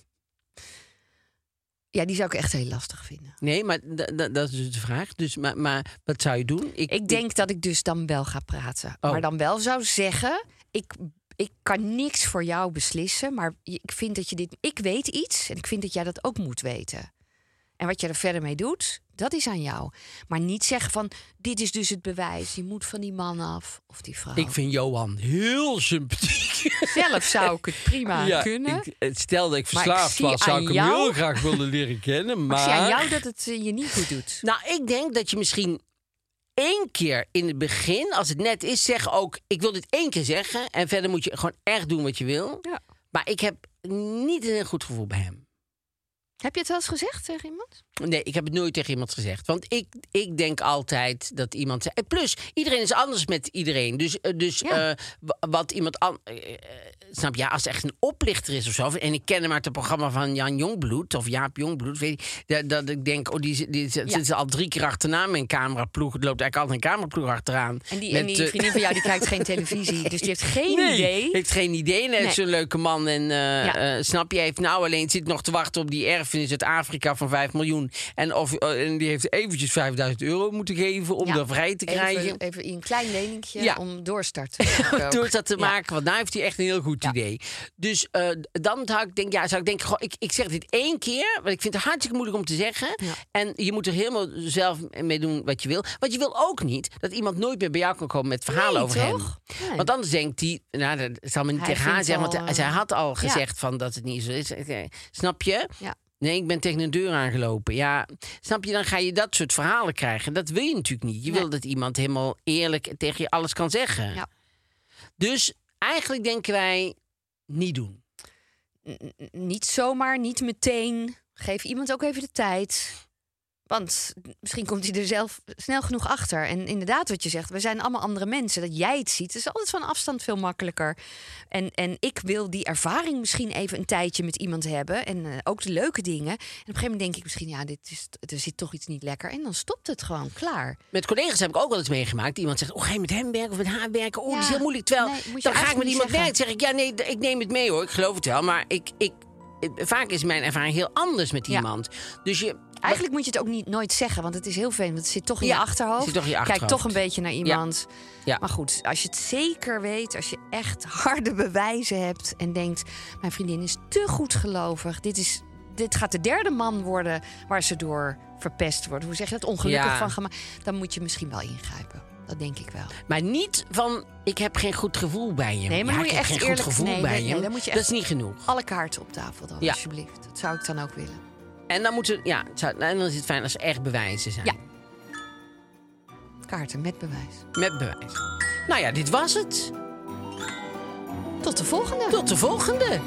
Ja, die zou ik echt heel lastig vinden.
Nee, maar da- da- dat is dus de vraag. Dus, maar, maar wat zou je doen?
Ik denk dat ik dus dan wel ga praten.
Oh.
Maar dan wel zou zeggen: ik, ik kan niks voor jou beslissen. Maar je- ik vind dat je dit. Ik weet iets en ik vind dat jij dat ook moet weten. En wat je er verder mee doet, dat is aan jou. Maar niet zeggen van: dit is dus het bewijs. Je moet van die man af of die vrouw.
ik vind Johan heel sympathiek.
Zelf zou ik het
[laughs]
prima
Ja,
kunnen.
ik- eh, stel dat ik
Maar ik
verslaafd
zie
was, zou
aan
ik hem
jou-
heel graag willen leren [laughs] kennen.
Maar ik zie aan
maar-
jou dat het eh, je niet goed doet.
Nou, ik denk dat je misschien één keer in het begin, als het net is, zeg ook: ik wil dit één keer zeggen. En verder moet je gewoon echt doen wat je wil.
Ja.
Maar ik heb niet een heel goed gevoel bij hem.
Heb je het wel eens gezegd tegen iemand?
Nee, ik heb het nooit tegen iemand gezegd. Want ik, ik denk altijd dat iemand. zei- en Plus, iedereen is anders met iedereen. Dus, eh, dus
Ja.
eh, wa- wat iemand. an- eh, eh, snap je, als het echt een oplichter is of zo. En ik ken hem uit het programma van Jan Jongbloed. Of Jaap Jongbloed. Weet ik, dat, dat ik denk, oh, die, zit- die, zit- zitten al drie keer achterna mijn cameraploeg. Er loopt eigenlijk altijd een cameraploeg achteraan.
En die, en
Met,
die
eh,
vriendin van jou die kijkt geen televisie. Dus die
[laughs]
heeft geen
nee,
idee.
Heeft geen idee. En hij
Nee.
is zo'n leuke man. En eh,
Ja.
eh, snap je, hij heeft nou alleen zit nog te wachten op die erfenis uit Afrika van 5 miljoen. En, of, eh, en die heeft eventjes 5000 euro moeten geven om
Ja,
dat vrij te krijgen.
Even, even een klein leningje
Ja.
om doorstart
[laughs]
te maken ook.
Door dat te
Ja.
maken, want nou heeft hij echt een heel goed idee. Dus eh, dan zou ik denken, ja, zou ik denken, goh, ik, ik zeg dit één keer, want ik vind het hartstikke moeilijk om te zeggen. En je moet er helemaal zelf mee doen wat je wil. Want je wil ook niet dat iemand nooit meer bij jou kan komen met verhalen
Nee,
over
toch?
hem.
Nee.
Want anders denkt hij, nou, dat zal me niet
Hij
tegen haar
vindt
zeggen,
al,
want hij- zij
eh,
had al
ja.
gezegd van dat het niet zo is. Eh, Snap je?
Ja.
Nee, ik ben tegen een deur aangelopen. Ja, snap je? Dan ga je dat soort verhalen krijgen. Dat wil je natuurlijk niet. Je wil dat iemand helemaal eerlijk tegen je alles kan zeggen.
Ja.
Dus eigenlijk denken wij niet doen.
N- n- Niet zomaar, niet meteen. Geef iemand ook even de tijd. Want misschien komt hij er zelf snel genoeg achter. En inderdaad, wat je zegt, we zijn allemaal andere mensen. Dat jij het ziet, is altijd van afstand veel makkelijker. En, en ik wil die ervaring misschien even een tijdje met iemand hebben. En eh, ook de leuke dingen. En op een gegeven moment denk ik misschien, ja, dit is, er zit toch iets niet lekker. En dan stopt het gewoon, klaar.
Met collega's heb ik ook wel eens meegemaakt. Iemand zegt, oh, ga je met hem werken of met haar werken? Oh, dat is
Ja,
heel moeilijk. Terwijl,
nee, moet je
dan ga ik
eigenlijk
met
niet
iemand
zeggen.
werken. zeg ik, ja, nee, d- ik neem het mee hoor. Ik geloof het wel. Maar ik, ik, eh, vaak is mijn ervaring heel anders met
Ja.
iemand. Dus je...
Eigenlijk moet je het ook niet, nooit zeggen, want het is heel veel. Want het zit toch in
Ja,
je achterhoofd.
zit toch in je
Kijk
achterhoofd.
toch een beetje naar iemand.
Ja.
Maar goed, als je het zeker weet, als je echt harde bewijzen hebt en denkt: mijn vriendin is te goed gelovig. Dit, is, dit gaat de derde man worden waar ze door verpest wordt. Hoe zeg je dat? Ongelukkig
Ja.
van gemaakt. Dan moet je misschien wel ingrijpen. Dat denk ik wel.
Maar niet van, ik heb geen goed gevoel bij je.
Nee, maar
ja,
moet
ik
je
heb
echt
geen
eerlijk-
goed gevoel
nee,
bij
nee,
je.
nee, dan moet je
Dat is
echt-
niet genoeg.
Alle kaarten op tafel dan,
Ja.
alsjeblieft. Dat zou ik dan ook willen.
En dan, moeten, ja, het zou- en dan is het fijn als er echt bewijzen zijn.
Ja. Kaarten met bewijs.
Met bewijs. Nou ja, dit was het.
Tot de volgende.
Tot de volgende.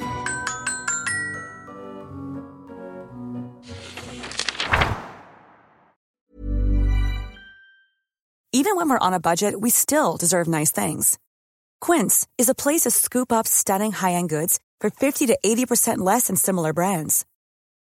Even when we're on a budget, we still deserve nice things. Quince is a place to scoop up stunning high-end goods for 50 to 80% less than similar brands.